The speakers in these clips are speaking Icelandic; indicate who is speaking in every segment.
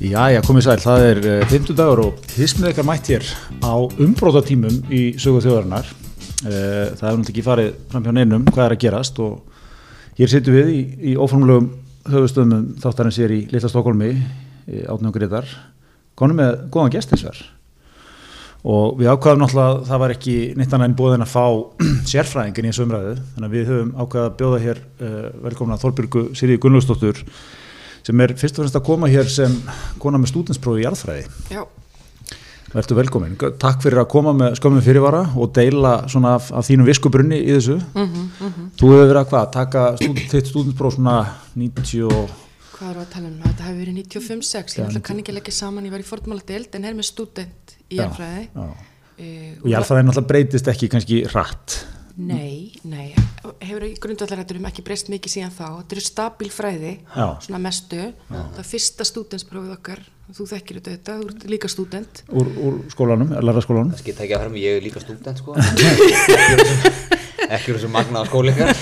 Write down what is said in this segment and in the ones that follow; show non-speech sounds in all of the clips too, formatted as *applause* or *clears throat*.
Speaker 1: Jæja, komið sæl, það er fymtudagur og hismið ykkar mætt hér á umbrótatímum í sögu þjóðarinnar. Eh, Það hefur náttúrulega ekki farið fram hjá neinum hvað er að gerast og hér sittum við í, í óformlegum höfustöðum þáttarins hér í Lilla Stokkolmi, átnum greitar, konum með góðan gest hins vegar. Og við ákvaðum náttúrulega að það var ekki neitt annað en bóðin að fá *clears throat* sérfræðingin í þessu umræðu. Þannig að við höfum ákvaðið að bjóða hér uh, velkomna Þorbyrgu Sirið Gunnlausdóttur sem er fyrst og fremst að koma hér sem kona með stúdensprófi í jarðfræði.
Speaker 2: Já,
Speaker 1: Vertu velkomin. G- Takk fyrir að koma með skömmu fyrirvara og deila svona af, af þínum viskubrunni í þessu. Þú hefur verið að hvað, taka stúd, þitt stúdenspróf svona 90 og
Speaker 2: hvað eru að tala um? Þetta hefur verið 95-6, ég
Speaker 1: Já,
Speaker 2: ætla kann ekki að leggja saman, ég var í formála deild en er með student í
Speaker 1: Já,
Speaker 2: jarðfræði.
Speaker 1: já.
Speaker 2: Uh,
Speaker 1: og jarðfræðin náttúrulega breytist ekki kannski rætt.
Speaker 2: Nei, nei, hefur í grundvallarætturum ekki breyst mikið síðan þá. Þetta eru stabil fræði,
Speaker 1: Já.
Speaker 2: svona mestu. Það er fyrsta studentsprófið okkar, þú þekkir þetta, þetta, þú ert líka student.
Speaker 1: Úr, úr skólanum, lærra skólanum.
Speaker 3: *laughs* Það skipta ekki að fara með, ég er líka stúdent
Speaker 1: *laughs*
Speaker 3: sko Ekki úr þessu magnaða skóli ykkar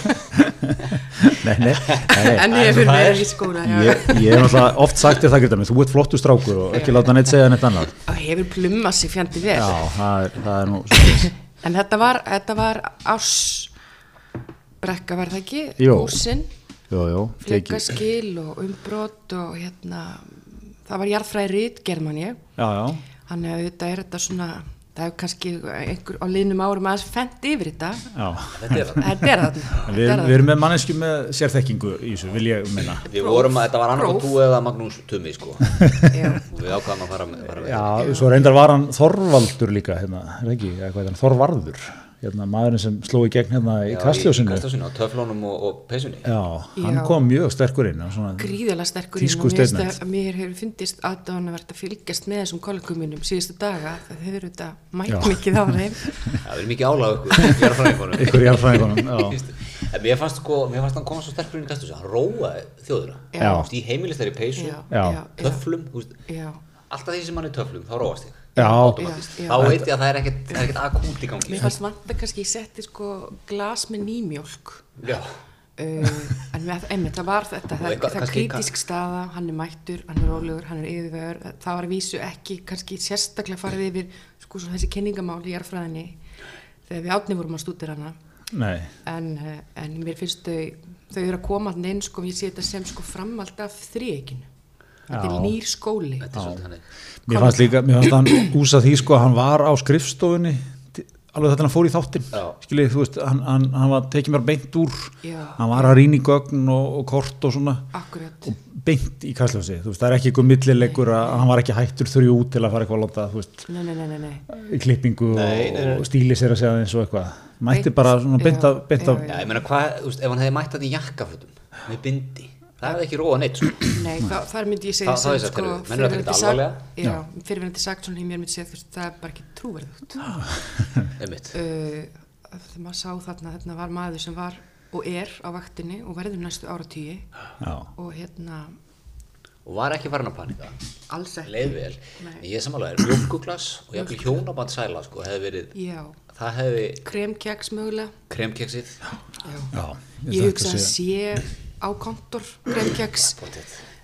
Speaker 1: Nei, nei, nei, nei.
Speaker 2: *laughs* en ég hefur verið í skóla, já.
Speaker 1: Ég, ég hef náttúrulega oft sagt þér það geta mig, þú ert flottur strákur og ekki láta neitt segja neitt annað.
Speaker 2: Og hefur plummað sér fjandi vel.
Speaker 1: Já, það er, það er nú svolítið.
Speaker 2: *laughs* En þetta var, þetta var ás, brekka var það ekki,
Speaker 1: Jó.
Speaker 2: húsin.
Speaker 1: Jó, jó, tekið.
Speaker 2: fleikaskil og umbrot og hérna það var jarðfræði rít gerð mann ég
Speaker 1: Já, já.
Speaker 2: þannig að þetta er þetta svona það hefur kannski einhver á liðnum árum aðeins fendt yfir þetta
Speaker 1: Já.
Speaker 3: Þetta er það
Speaker 2: þetta er þarna
Speaker 1: En
Speaker 2: *laughs*
Speaker 1: Við,
Speaker 2: þetta er
Speaker 1: erum-
Speaker 2: þarna.
Speaker 1: við erum með mannesku með sérþekkingu í þessu, vil ég meina.
Speaker 3: Við vorum að þetta var annað
Speaker 2: Próf.
Speaker 3: þú eða Magnús Tumi sko og
Speaker 2: Já.
Speaker 3: við ákvaðum að fara með, fara með.
Speaker 1: Já, svo reyndar var hann Þorvaldur líka, hérna, er ekki, eða hvað er hann, Þorvarður, hérna, maðurinn sem sló í gegn hérna í
Speaker 3: Í
Speaker 1: kastljósinu.
Speaker 3: Kastljósinu, á töflónum og, og peysunni
Speaker 1: Já, hann
Speaker 2: Já.
Speaker 1: kom mjög sterkur inn, á svona,
Speaker 2: gríðalega sterkur
Speaker 1: Þýsku
Speaker 2: og mér,
Speaker 1: statement.
Speaker 2: finnst að- mér hefur fundist aðdánavert að fylgjast með þessum kollegum mínum síðustu daga það hefur þetta
Speaker 1: Já.
Speaker 2: mætt mikið á *laughs* þeim
Speaker 3: Það verður mikið álag
Speaker 1: *laughs*
Speaker 3: ykkur, ég er frá einhvern
Speaker 1: ykkur í alfræðingunum, já.
Speaker 3: En mér fannst sko, mér fannst hann koma svo sterkur inn í kastljósinu, hann róaði þjóðuna
Speaker 2: Já.
Speaker 3: Þú veist, Í heimilistari peysu,
Speaker 2: já,
Speaker 1: Já.
Speaker 2: já, já,
Speaker 3: töflum, þú veist
Speaker 2: já.
Speaker 3: Alltaf því sem hann er í töflum, þá róast ég
Speaker 1: Já,
Speaker 2: Já, já.
Speaker 3: Þá veit ég að það er ekkert, það er ekkert akút í gangi
Speaker 2: mér fannst vant að kannski ég setti sko glas með nýmjólk
Speaker 3: Já,
Speaker 2: uh, en við, einmitt, það var þetta það,
Speaker 3: eitthvað-
Speaker 2: það er
Speaker 3: kannski-
Speaker 2: kritísk staða, hann er mættur hann er rólegur, hann er yfirvegur það- það var að vísu ekki, kannski sérstaklega farið yfir sko svona þessi kenningamál í jarfræðinni þegar við átni vorum að stútir hana
Speaker 1: nei,
Speaker 2: en, eh, en mér finnst þau þau eru að koma hann inn sko, ég sé þetta sem sko framald af þrýekinu þetta
Speaker 1: Já.
Speaker 2: er nýr skóli
Speaker 3: þetta er svolítið hannig
Speaker 1: mér fannst líka, mér fannst hann úsa því, sko, hann var á skrifstofunni, til- alveg þetta hann fór í þáttinn,
Speaker 3: Já.
Speaker 1: skiljið, þú veist, hann, hann, hann var tekið mér beint úr,
Speaker 2: Já.
Speaker 1: hann var að rýna í gögn og, og kort og svona.
Speaker 2: akkurat,
Speaker 1: og beint í kastljósi þú veist, það er ekki einhver millilegur að að hann var ekki hættur þrjú út til að fara eitthvað að láta þú veist,
Speaker 2: nei, nei, nei, nei, nei.
Speaker 1: í klippingu
Speaker 3: Nei, nei, nei.
Speaker 1: og stíli sér að segja eins og eitthvað mætti
Speaker 2: Beint,
Speaker 1: bara svona beint
Speaker 2: já,
Speaker 1: af, beint
Speaker 2: já,
Speaker 1: af
Speaker 2: já.
Speaker 3: Já, ég meina hvað, þú veist, ef hann hefði mætt þetta í jakkafötum með bindi, það hefði ekki róa neitt sko.
Speaker 2: Nei, þa þar myndi ég segja
Speaker 3: Þa- það er
Speaker 2: sem,
Speaker 3: þess að
Speaker 2: sko,
Speaker 3: fyrir- menn eru að taka þetta
Speaker 2: fyrirverandi sagt-
Speaker 3: alvarlega?
Speaker 2: já, fyrirverandi sagt svona í mér myndi segja þú veist, það er bara ekki trúverðugt
Speaker 3: Einmitt.
Speaker 2: uh, þegar maður sá þarna þarna var maður sem var og er á vaktinni og verður næstu áratíi
Speaker 1: Já.
Speaker 2: og hérna
Speaker 3: og var ekki farin að panika
Speaker 2: alls ekki
Speaker 3: leið vel,
Speaker 2: Nei.
Speaker 3: en ég er samanlega er mjölkuglas og jafnvel hjónaband sæla sko, hefði verið,
Speaker 2: já,
Speaker 3: það hefði
Speaker 2: kremkjaks mögulega
Speaker 3: kremkeksið
Speaker 2: já.
Speaker 1: Já, ég
Speaker 2: ég
Speaker 1: ætla
Speaker 2: hugsa
Speaker 1: ekki
Speaker 2: að
Speaker 1: að
Speaker 2: sé á kontor kremkjaks
Speaker 3: Ah,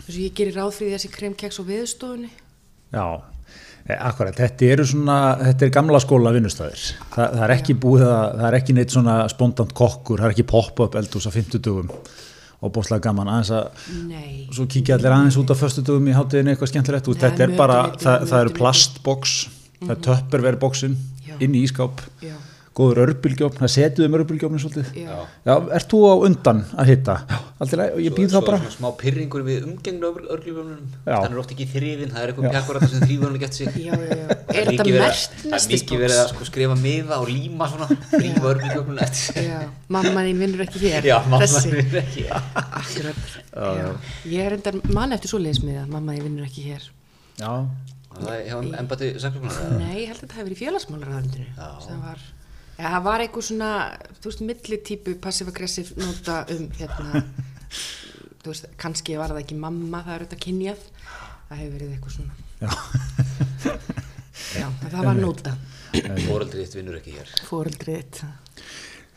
Speaker 2: þess að ég gerir ráð fyrir þessi kremkjaks á viðstofunni
Speaker 1: já, Eh, akkurat, þetta eru svona þetta er gamla skóla vinnustæðir Þa, það er ekki búið að, það er ekki neitt svona spontant kokkur, það er ekki pop-up eldús á 50 dugum og bóðslega gaman aðeins að
Speaker 2: nei,
Speaker 1: svo kíkja allir aðeins út á föstudögum í hátíðinu eitthvað skemmtilegt út,
Speaker 2: Nei,
Speaker 1: þetta er
Speaker 2: mötuneyti,
Speaker 1: bara, það, það eru
Speaker 2: mötuneyti.
Speaker 1: plastboks, það er töpperverboxin,
Speaker 2: Mhm. Já.
Speaker 1: inn í ískáp,
Speaker 2: já,
Speaker 1: góður örbylgjófn, það setuðum örbylgjófnin svolítið.
Speaker 2: já,
Speaker 1: Já, ert þú á undan að hitta? Já, alltaf, ég býð þá
Speaker 3: svo,
Speaker 1: bara.
Speaker 3: svona smá pyrringur við umgengna örgljóðunum
Speaker 1: Já.
Speaker 3: þannig er oft ekki þrifin, það er eitthvað pjakkur sem þrifurinn gett sig
Speaker 2: já, já, já.
Speaker 3: Það
Speaker 2: er
Speaker 3: mikið
Speaker 2: þetta
Speaker 3: verið að-
Speaker 2: mert
Speaker 3: það er
Speaker 2: næstis
Speaker 3: mikið verið að sko, skrifa miða og líma svona þrýfa örgljóðunum eftir sig.
Speaker 2: já, mamma þín vinnur ekki hér
Speaker 3: já, mamma
Speaker 2: þessi.
Speaker 3: er ekki já.
Speaker 2: Akkurat, já. Ég er endar mann eftir svo leiðismiða, mamma ég vinnur ekki hér.
Speaker 1: Já,
Speaker 3: það er hefum embati saklugnar
Speaker 2: Nei, ég held að þetta hefur verið í félagsmálaræðandinu sem var, já, það var eitthvað svona, þú veist, millitípu passiv-aggressiv nota um,
Speaker 1: *laughs*
Speaker 2: hérna, þú veist, kannski var það ekki mamma, það er auðvitað kynjað, það hefur verið eitthvað svona.
Speaker 1: Já.
Speaker 2: Já, en það var nota,
Speaker 3: Fóreldrið þitt vinnur ekki hér
Speaker 2: fóreldrið þitt,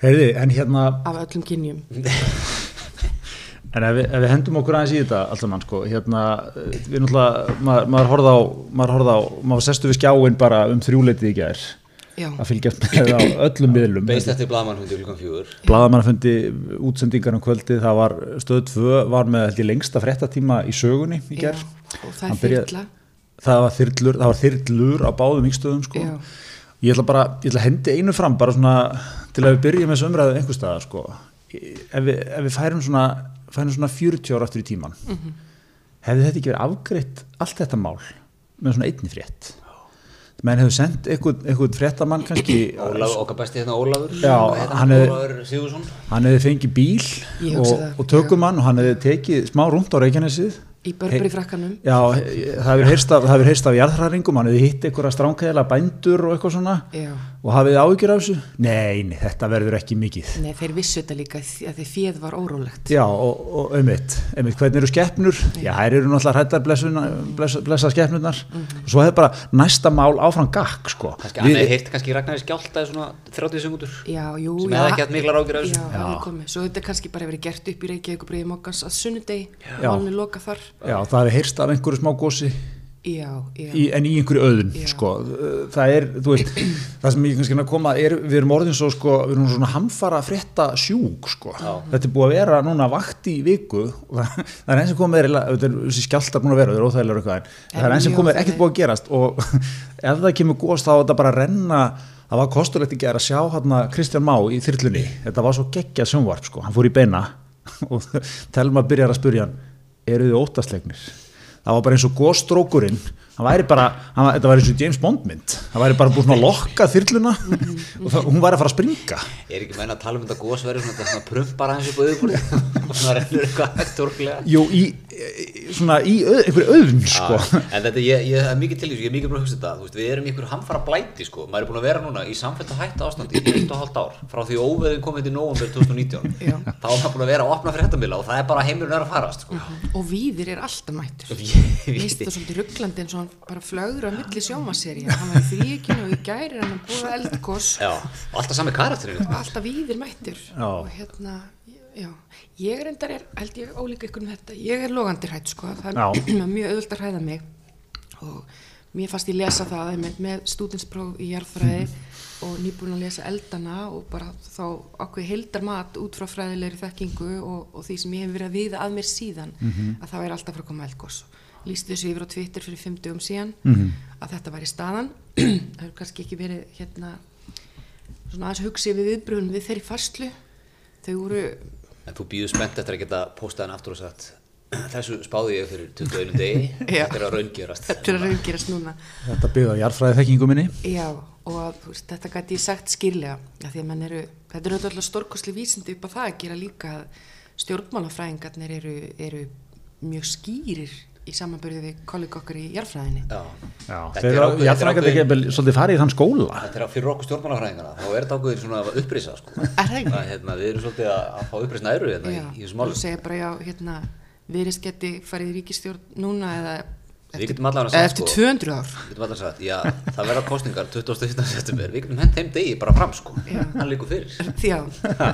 Speaker 1: heyrði, en hérna,
Speaker 2: af öllum kynjum.
Speaker 1: En ef við, ef við hendum okkur aðeins í þetta alltaf mann sko, hérna, eh, við náttúrulega, maður, maður horfði á, maður horfði á, maður sestu við skjáin bara um þrjúleitið í gær,
Speaker 2: Já.
Speaker 1: að fylgjast með á
Speaker 3: *coughs*
Speaker 1: öllum miðlum.
Speaker 3: Beist eftir blaðmannhundi klukkan fjögur
Speaker 1: Blaðamannafundi útsendingar um kvöldið, það var stöð 2, var með held ég lengsta fréttatíma í sögunni í gær.
Speaker 2: Já, og það er
Speaker 1: Hann byrjaði-
Speaker 2: þyrla.
Speaker 1: Það var þyrlur, það var þyrlur á báðum yngstöðum sko.
Speaker 2: Já.
Speaker 1: Ég ætla bara, ég ætla að hendi einu fram bara svona til að við byrjum þessu umræðu einhver staðar sko. Ef við, ef við færum, svona, færum svona 40 ára aftur í tíman,
Speaker 2: Mhm.
Speaker 1: hefði þetta ekki verið afgreitt allt þetta mál með svona einni frétt. Menn hefur sendt einhvern, einhvern fréttamann kannski,
Speaker 3: Ólafur, okkar besti hérna Ólafur
Speaker 1: Já,
Speaker 3: Hvað heitir
Speaker 1: hann
Speaker 3: hann
Speaker 1: er-
Speaker 3: Ólafur Sigursson
Speaker 1: hann hefði fengið bíl
Speaker 2: Ég hugsa
Speaker 1: og,
Speaker 2: það,
Speaker 1: og tökumann og hann hefði tekið smá rúnd á Reykjanesið.
Speaker 2: Í Burberry frakkanum.
Speaker 1: Já, he- það hefur heyrst af, það hefur heyrst af jarðhræringum, hann hefði hitt einhverja stránkæðila bændur og eitthvað svona
Speaker 2: Já.
Speaker 1: og hafið þið áhyggjur af þessu? Nei, nei, þetta verður ekki mikið.
Speaker 2: Nei, þeir vissu þetta líka því að því fjöð var órólegt.
Speaker 1: Já, og, og einmitt, einmitt, hvernig eru skeppnur? Já, þær eru náttúrulega hrættar blessuna, blessa, blessa skeppnurnar
Speaker 2: Mhm.
Speaker 1: og svo hefur bara næsta mál áfram gakk, sko.
Speaker 3: Kannski, hann hefði heyrt kannski Ragnari skjáltaði svona 30 sekundur
Speaker 2: Já, jú,
Speaker 3: Sem
Speaker 2: já.
Speaker 3: hefði ekki haft miklar áhyggjur af þessu.
Speaker 2: Já,
Speaker 3: Já.
Speaker 2: alveg komið. Svo þetta kannski bara verið gert upp í Reykjavík og breiði mokkans að sunnudegi,
Speaker 1: Já.
Speaker 2: málunni loka þar.
Speaker 1: Já, það hefur heyrst af einhverju smá gósi
Speaker 2: Já, já.
Speaker 1: í, en í einhverju öðun,
Speaker 2: Já.
Speaker 1: sko. Það er, þú veist, það sem ég kannski er að koma er, við erum orðin svo, sko, við erum svona hamfara frétta sjúk, sko. Þetta er búið að vera núna vakt í viku og það, það er eins sem komið er, eiginlega- þetta er- þessi skjáltar búin að vera, það er óþægilega eitthvað, en það er eins sem
Speaker 2: mjög
Speaker 1: komið er ekkert
Speaker 2: óþægileg.
Speaker 1: búið að gerast og *laughs* ef það kemur góðast þá er þetta bara að renna það var kostulegt í gera að sjá hérna Kristján Má í þyrlunni, þetta var svo geggjað sjónvarp sko, hann fór í beina *laughs* og Telma byrjar að spurja hann eru þið óttaslegnir? Það var bara eins og góðstrókurinn, hann væri bara hann, þetta væri eins og James Bond mynd hann væri bara búin svona að lokka þyrluna *laughs* og það, hún væri að fara að springa
Speaker 3: Er ekki menn að tala um þetta gósverði svona, þetta svona prumpar hans upp á auðvitað
Speaker 1: *laughs*
Speaker 3: og svona rennur eitthvað hægt orklega
Speaker 1: Jú, í, í- svona í öð, einhverju öðun sko
Speaker 3: En þetta, ég, ég það er mikið til þessu, ég er mikið búin að hugsa þetta þú veist, Við erum í ykkur hamfara blæti sko Maður er búin að vera núna í samfellt og hætta ástandi í 1,5 ár Frá því óveðin hérna komið til november 2019
Speaker 2: Já.
Speaker 3: Þá er maður búin að vera að opna fréttamila og það er bara heimurinn er að farast sko.
Speaker 2: Og víðir er alltaf mættur. Mér finnst
Speaker 3: Ég-
Speaker 2: það svolítið rugglandi eins og hann bara flögur á milli sjómaserja. Hann var í þvíkinu og í gæri hann að búa eldgós
Speaker 3: Já, og alltaf sami karakterinu
Speaker 2: og alltaf víðir mættur.
Speaker 1: Já.
Speaker 2: Og hérna, já. Ég reyndar er, held ég ólíka ykkur um þetta, ég er logandi hrætt sko, það er *clears throat* mjög auðvöld að hræða mig. Og mér fannst ég lesa það einmitt með stúdinspróf í jarðfræði og nýbúin að lesa eldana og bara þá okkur heildar mat út frá fræðilegri þekkingu og, og því sem ég hef verið að viða að mér síðan að það væri alltaf frá að koma eldgós líst þessu yfir á Twitter fyrir 50 um síðan að þetta væri staðan *clears throat* það hefur kannski ekki verið hérna svona aðeins hugsið við viðbrunum við þeirri fastlu þau voru
Speaker 3: En þú býður spennt eftir að geta postað hann aftur og sagt Þessu spáði ég fyrir 21 degi
Speaker 2: *laughs* Já.
Speaker 3: Þetta er að raungjörast
Speaker 2: þetta er að raungerast núna
Speaker 1: þetta byggði á jarðfræði þekkingu minni
Speaker 2: Já, og að, þú veist, þetta gæti ég sagt skýrlega, af því að menn eru, þetta eru alltaf stórkosli vísindi upp á það að gera líka að stjórnmálafræðingarnir eru, eru mjög skýrir í samanbörðu við kollega okkar í jarðfræðinni.
Speaker 3: Já,
Speaker 1: Já,
Speaker 3: Þetta
Speaker 1: þeir
Speaker 3: er ákveðið-
Speaker 1: eru jarðfræðingar
Speaker 3: þetta er
Speaker 1: ekki jafnvel svolítið farið í þann skóla
Speaker 3: Þetta er að fyrir okkur stjórnmálafræðingana, þá er þetta ákveðin svona upprýsa, sko.
Speaker 2: Er það ekki?
Speaker 3: Að, hérna, við erum svolítið að, að fá upprýsna eru hérna í,
Speaker 2: Já,
Speaker 3: í þessu
Speaker 2: þú
Speaker 3: málum.
Speaker 2: segir bara, já, hérna, viðrist geti farið í ríkistjórn núna eða
Speaker 3: Við
Speaker 2: eftir,
Speaker 3: getum allavega
Speaker 2: eða
Speaker 3: sagt,
Speaker 2: eftir
Speaker 3: sko.
Speaker 2: 200 ár. *laughs*
Speaker 3: Við getum alltaf sagt, já, það verða kostningar 21. september, við getum hent þeim degi bara fram, sko.
Speaker 2: Já.
Speaker 3: Hann líkur
Speaker 1: *laughs*
Speaker 3: fyrir.
Speaker 2: Já,
Speaker 3: Ha,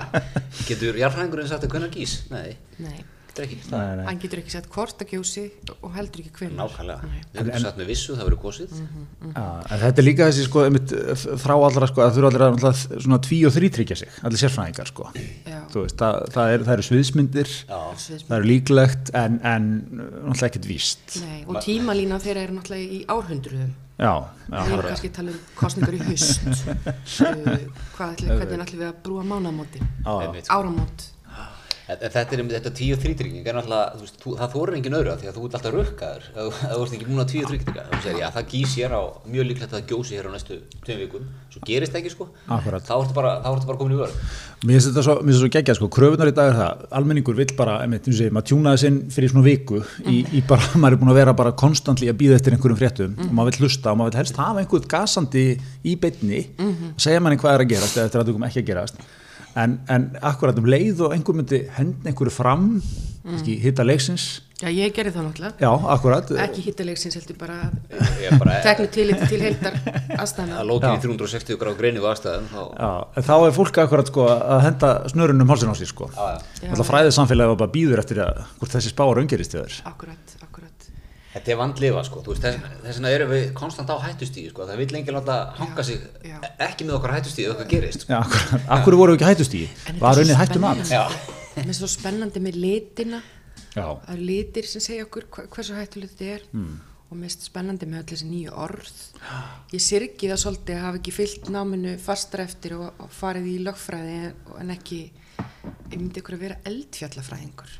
Speaker 3: Getur jarðfræðingurinn sagt að hvernig gís? Nei,
Speaker 2: nei,
Speaker 3: getur ekki.
Speaker 1: Nei, nei.
Speaker 2: hann getur ekki sett hvort að gjósi og heldur ekki hvernig.
Speaker 3: Nákvæmlega. Við getum sagt með vissu, það verður kosið.
Speaker 2: Mhm.
Speaker 1: Já, en þetta er líka þessi sko, einmitt, f- frá allra sko, að þurfa allir að náttúrulega svona tví og þrítryggja sig, allir sérfræðingar sko.
Speaker 2: Já.
Speaker 1: Þú veist, það, það, er, það eru sviðsmyndir,
Speaker 3: Já,
Speaker 1: það eru líklegt en, en náttúrulega ekkert víst.
Speaker 2: Nei, og tímalína þeirra eru náttúrulega í árhundruðum.
Speaker 1: Já, já,
Speaker 2: Við erum kannski að tala um kostningar í haust uh, hvað ætli, hvernig ætlum við að brúa mánamóti
Speaker 1: já.
Speaker 3: einmitt, sko.
Speaker 2: áramót
Speaker 3: En- en Þetta er, þetta tíu þrítrygging er náttúrulega, þú veist, þú, það þorir engin öðru af því að þú ert alltaf rökkaður ef þú- ef þú ert ekki búin að tíu þrítrygging þú segir, já, það gís hér á, mjög líklegt að það gjósi hér á næstu tveim vikum, svo gerist ekki, sko
Speaker 1: Akkúrat.
Speaker 3: þá ertu bara, þá ertu bara komin í vörð
Speaker 1: *laughs* Mér finnst þetta svo, mér finnst þetta svo geggjað sko, kröfunar í dag er það, almenningur vill bara, einmitt, þú segir, maður tjúnaði sinn fyrir svona viku í, í bara, *laughs* maður er búin að vera bara konstantli að býða eftir einhverjum fréttum
Speaker 3: Mhm.
Speaker 1: og maður vill hlusta og maður vill helst hafa einhvern gasandi í beinni,
Speaker 3: Mhm.
Speaker 1: segja manni hvað er að gerast eða eftir að þú kom ekki að gerast, en, en akkurat um leið og einhver myndi hend einhverju fram mm.
Speaker 3: Mhm.
Speaker 1: hitta leiksins
Speaker 2: Já, ég gerði það náttúrulega.
Speaker 1: já, akkurat,
Speaker 2: Ekki hittalegsins heldur bara eh,
Speaker 3: Ég er bara
Speaker 2: teknu tiliti til heildar aðstæðna.
Speaker 3: að lókin í 360 gráð greinu aðstæðum þá,
Speaker 1: já, en þá er fólk akkurat sko að henda snörunum um hálsinn á sig sko
Speaker 3: já, já.
Speaker 1: alltaf fræðið samfélagi bara býður eftir að hvort þessi spára umgerist í þér
Speaker 2: Akkurat, akkurat.
Speaker 3: Þetta er vandlifa sko, þú veist, þess, þess vegna erum við konstant á hættustíði sko, það vil lengi láta hanga sig
Speaker 2: já.
Speaker 3: ekki með okkar hættustíði eða okkar gerist sko.
Speaker 1: já, akkurat, akkur voru ekki hættust í
Speaker 2: En þetta er
Speaker 1: var
Speaker 2: svo
Speaker 1: unnið hættum að
Speaker 2: spennandi.
Speaker 3: Já,
Speaker 2: Mér er svo spennandi með litina.
Speaker 1: já,
Speaker 2: Það eru litir sem segja okkur hva- hversu hættulegt þetta er. Og mér er spennandi með öll þessi nýju orð. Ég sirgi það svolítið að hafa ekki fyllt náminu fastra eftir og, og farið í lögfræði en- en ekki, ég myndi ykkur að vera eldfjallafræðingur.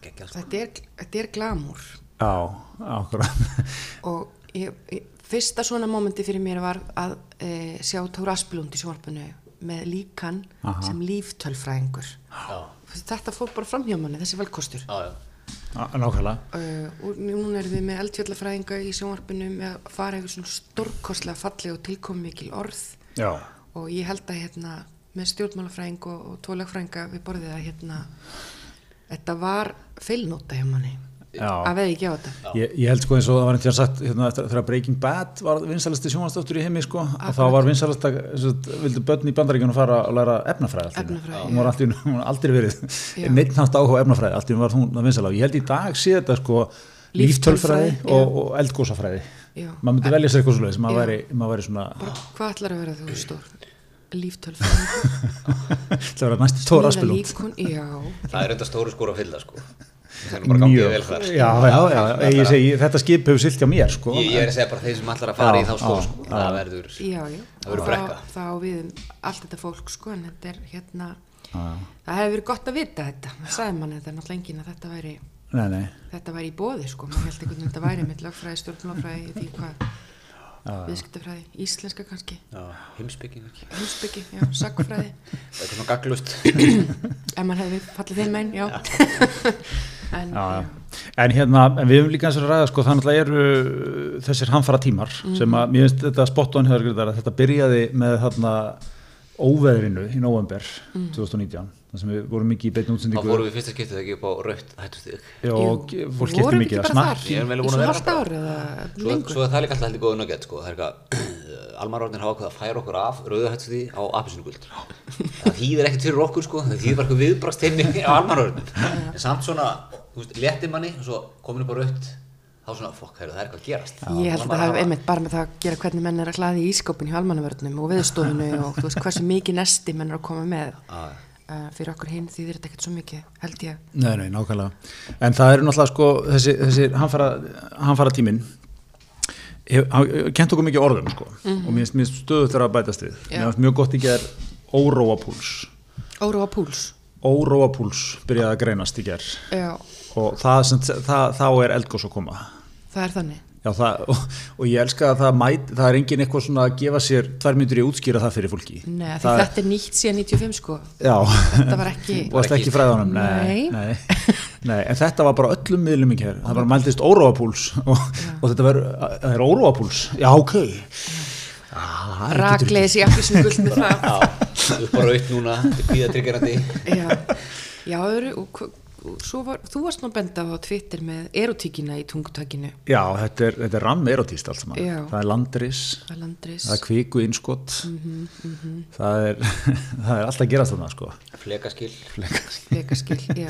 Speaker 3: Gekkja, sko.
Speaker 2: Þetta er, þetta er glamúr.
Speaker 1: já, *laughs* akkurat
Speaker 2: og ég, ég, fyrsta svona mómenti fyrir mér var að e, sjá Tóra Asplund í sjónvarpinu með líkan
Speaker 1: Aha.
Speaker 2: sem líftölfræðingur
Speaker 3: Já,
Speaker 2: þetta fór bara fram hjá manni, þessi velkostur
Speaker 3: já, já.
Speaker 1: Á- nákvæmlega
Speaker 2: uh, og núna erum við með eldfjallafræðinga í sjónvarpinu með að fara yfir svona stórkostlega falleg og tilkommikil orð
Speaker 1: já,
Speaker 2: og ég held að hérna með stjórnmálafræðing og, og tólagfræðinga við borðið að hérna þetta var feilnóta hjá manni
Speaker 1: Já.
Speaker 2: að veði ekki á þetta
Speaker 1: Ég, ég held sko eins og það var einhvern veginn sagt hérna, eftir, þegar Breaking Bad var vinsalasti sjónvastáttur í heimi sko, að þá var vinsalast að vildu börn í bandaríkjunum fara að læra efnafræði allt í einu.
Speaker 2: Efnafræði,
Speaker 1: hún var allt í einu- hún var aldrei *laughs*
Speaker 2: Já.
Speaker 1: verið neitt nátt áhuga á efnafræði, allt í hún var hún að vinsalega ég held í dag sé þetta sko líftölfræði
Speaker 2: Líftölfræði,
Speaker 1: og, og eldgósafræði
Speaker 2: Já.
Speaker 1: maður myndi velja sér eitthvað svoleiðis maður
Speaker 2: Já.
Speaker 1: væri, maður væri svona *laughs*
Speaker 2: bara hvað ætlar að vera þú stór líftölfræðingur
Speaker 3: *laughs*
Speaker 1: það var næst tóra
Speaker 2: Smíða
Speaker 1: spilum
Speaker 2: líkon, já,
Speaker 3: Það er enda stóru skóra að fylla sko. Það er nú bara gangið vel þar.
Speaker 1: já, já, já, ég segi, þetta skip hefur silt hjá mér sko
Speaker 3: Ég, ég er að segja bara þeir sem allar að fara
Speaker 1: Já,
Speaker 3: í þá skóra
Speaker 1: já,
Speaker 3: sko. Það verður,
Speaker 2: já, já
Speaker 3: Það verður
Speaker 2: Og
Speaker 3: brekka.
Speaker 2: þá, þá á við um allt þetta fólk sko en þetta er hérna það hefur verið gott að vita þetta það sagði mann þetta náttúrulega enginn að þetta væri
Speaker 1: nei, nei,
Speaker 2: þetta væri í bóði sko maður held einhvern veginn að þetta væri með lögfræði, stjórnmálfræði ég veit ekki hvað viðskiptafræði, íslenska kannski
Speaker 3: já, heimsbygging ekki.
Speaker 2: húsbyggi, já, sakfræði
Speaker 3: Það er eitthvað svona gagglust.
Speaker 2: ef mann hefði fallið þeim einn, já *laughs* en,
Speaker 1: já, já. En hérna, en við höfum líka eins og að ræða sko, þannig að eru uh, þessir hamfara tímar
Speaker 2: Mhm.
Speaker 1: sem að, mér finnst þetta spott on hefur greiðar að þetta byrjaði með þarna óveðrinu í november
Speaker 2: Mhm.
Speaker 1: 2019, þar sem við vorum mikið í beinni
Speaker 3: Þá
Speaker 1: útsendingu
Speaker 3: fórum við í fyrsta skiptið ekki upp á rautt hættustíð.
Speaker 1: Já, og
Speaker 2: Jú,
Speaker 1: fólk skipti
Speaker 2: vorum
Speaker 1: mikið
Speaker 2: ekki
Speaker 1: að
Speaker 2: bara
Speaker 1: smart
Speaker 2: þar
Speaker 3: Ég er vel
Speaker 2: í
Speaker 3: búin að
Speaker 2: svo
Speaker 3: vera
Speaker 2: halvt
Speaker 3: bara-
Speaker 2: ár eða
Speaker 3: Svo,
Speaker 2: lengur
Speaker 3: svo er það er líka alltaf heldur góð nugget sko. Það er eitthvað, *clears throat* almarornir hafa ákveð að færa okkur af rauðu hættustíð á apisínuguld. Það þýðir ekkert fyrir okkur sko. Það þýðir bara eitthvað viðbrast *laughs* heimni á almarornir. En samt svona, þú veist, léttir manni og svo komin upp á rautt. Þá svona, fokk, heyrðu, það er eitthvað að gerast.
Speaker 2: Ég held að það hefur einmitt bara með það að gera hvernig menn er að hlaði í ískópin hjá almannavörnum og viðstofinu
Speaker 1: *laughs*
Speaker 2: og þú veist hversu mikið nesti menn er að koma með
Speaker 3: Já.
Speaker 2: uh, fyrir okkur hinn því þeir eru ekkert svo mikið, held ég.
Speaker 1: Nei, nei, nákvæmlega. En það eru náttúrulega sko þessi, þessi hanfara, hanfara tíminn kent okkur mikið orðum sko og mér finnst stöðu þegar að bætast við.
Speaker 2: Já.
Speaker 1: Mér finnst mjög gott í gerð óróapúls.
Speaker 2: Óróa púls.
Speaker 1: Óróapúls byrjaði að greinast í gerð
Speaker 2: Já,
Speaker 1: og það sem, það, þá er eldgós að koma
Speaker 2: það er þannig.
Speaker 1: Já, það, *laughs* og, og ég elska að það, mæt, það er engin eitthvað svona að gefa sér tvær myndur í að útskýra það fyrir fólki
Speaker 2: Nei, því
Speaker 1: það,
Speaker 2: þetta er nýtt síðan 95 sko.
Speaker 1: Já,
Speaker 2: Þetta var ekki...
Speaker 1: varst ekki í fræðanum nei,
Speaker 2: Nei.
Speaker 1: nei. nei, en þetta var bara öllum miðlum í hér, það bara mæltist óróapúls *laughs* og, og þetta verður, það er óróapúls Já, ok ah,
Speaker 2: Rakleis í afhvísum guld með það.
Speaker 3: *laughs* Já, upp á raut núna, þetta er kvíðatryggjurandi.
Speaker 2: Já, já öðru, og, hva- og svo var, þú varst nú bendað á Twitter með erotíkina í tungutækinu.
Speaker 1: Já, þetta er, þetta er ramm erotíst allt saman
Speaker 2: Já.
Speaker 1: Það er landris,
Speaker 2: Það er landris.
Speaker 1: það er kviku innskott það, er, *laughs* það er alltaf að gerast þarna sko
Speaker 3: Flekaskil.
Speaker 2: Vegaskil, já.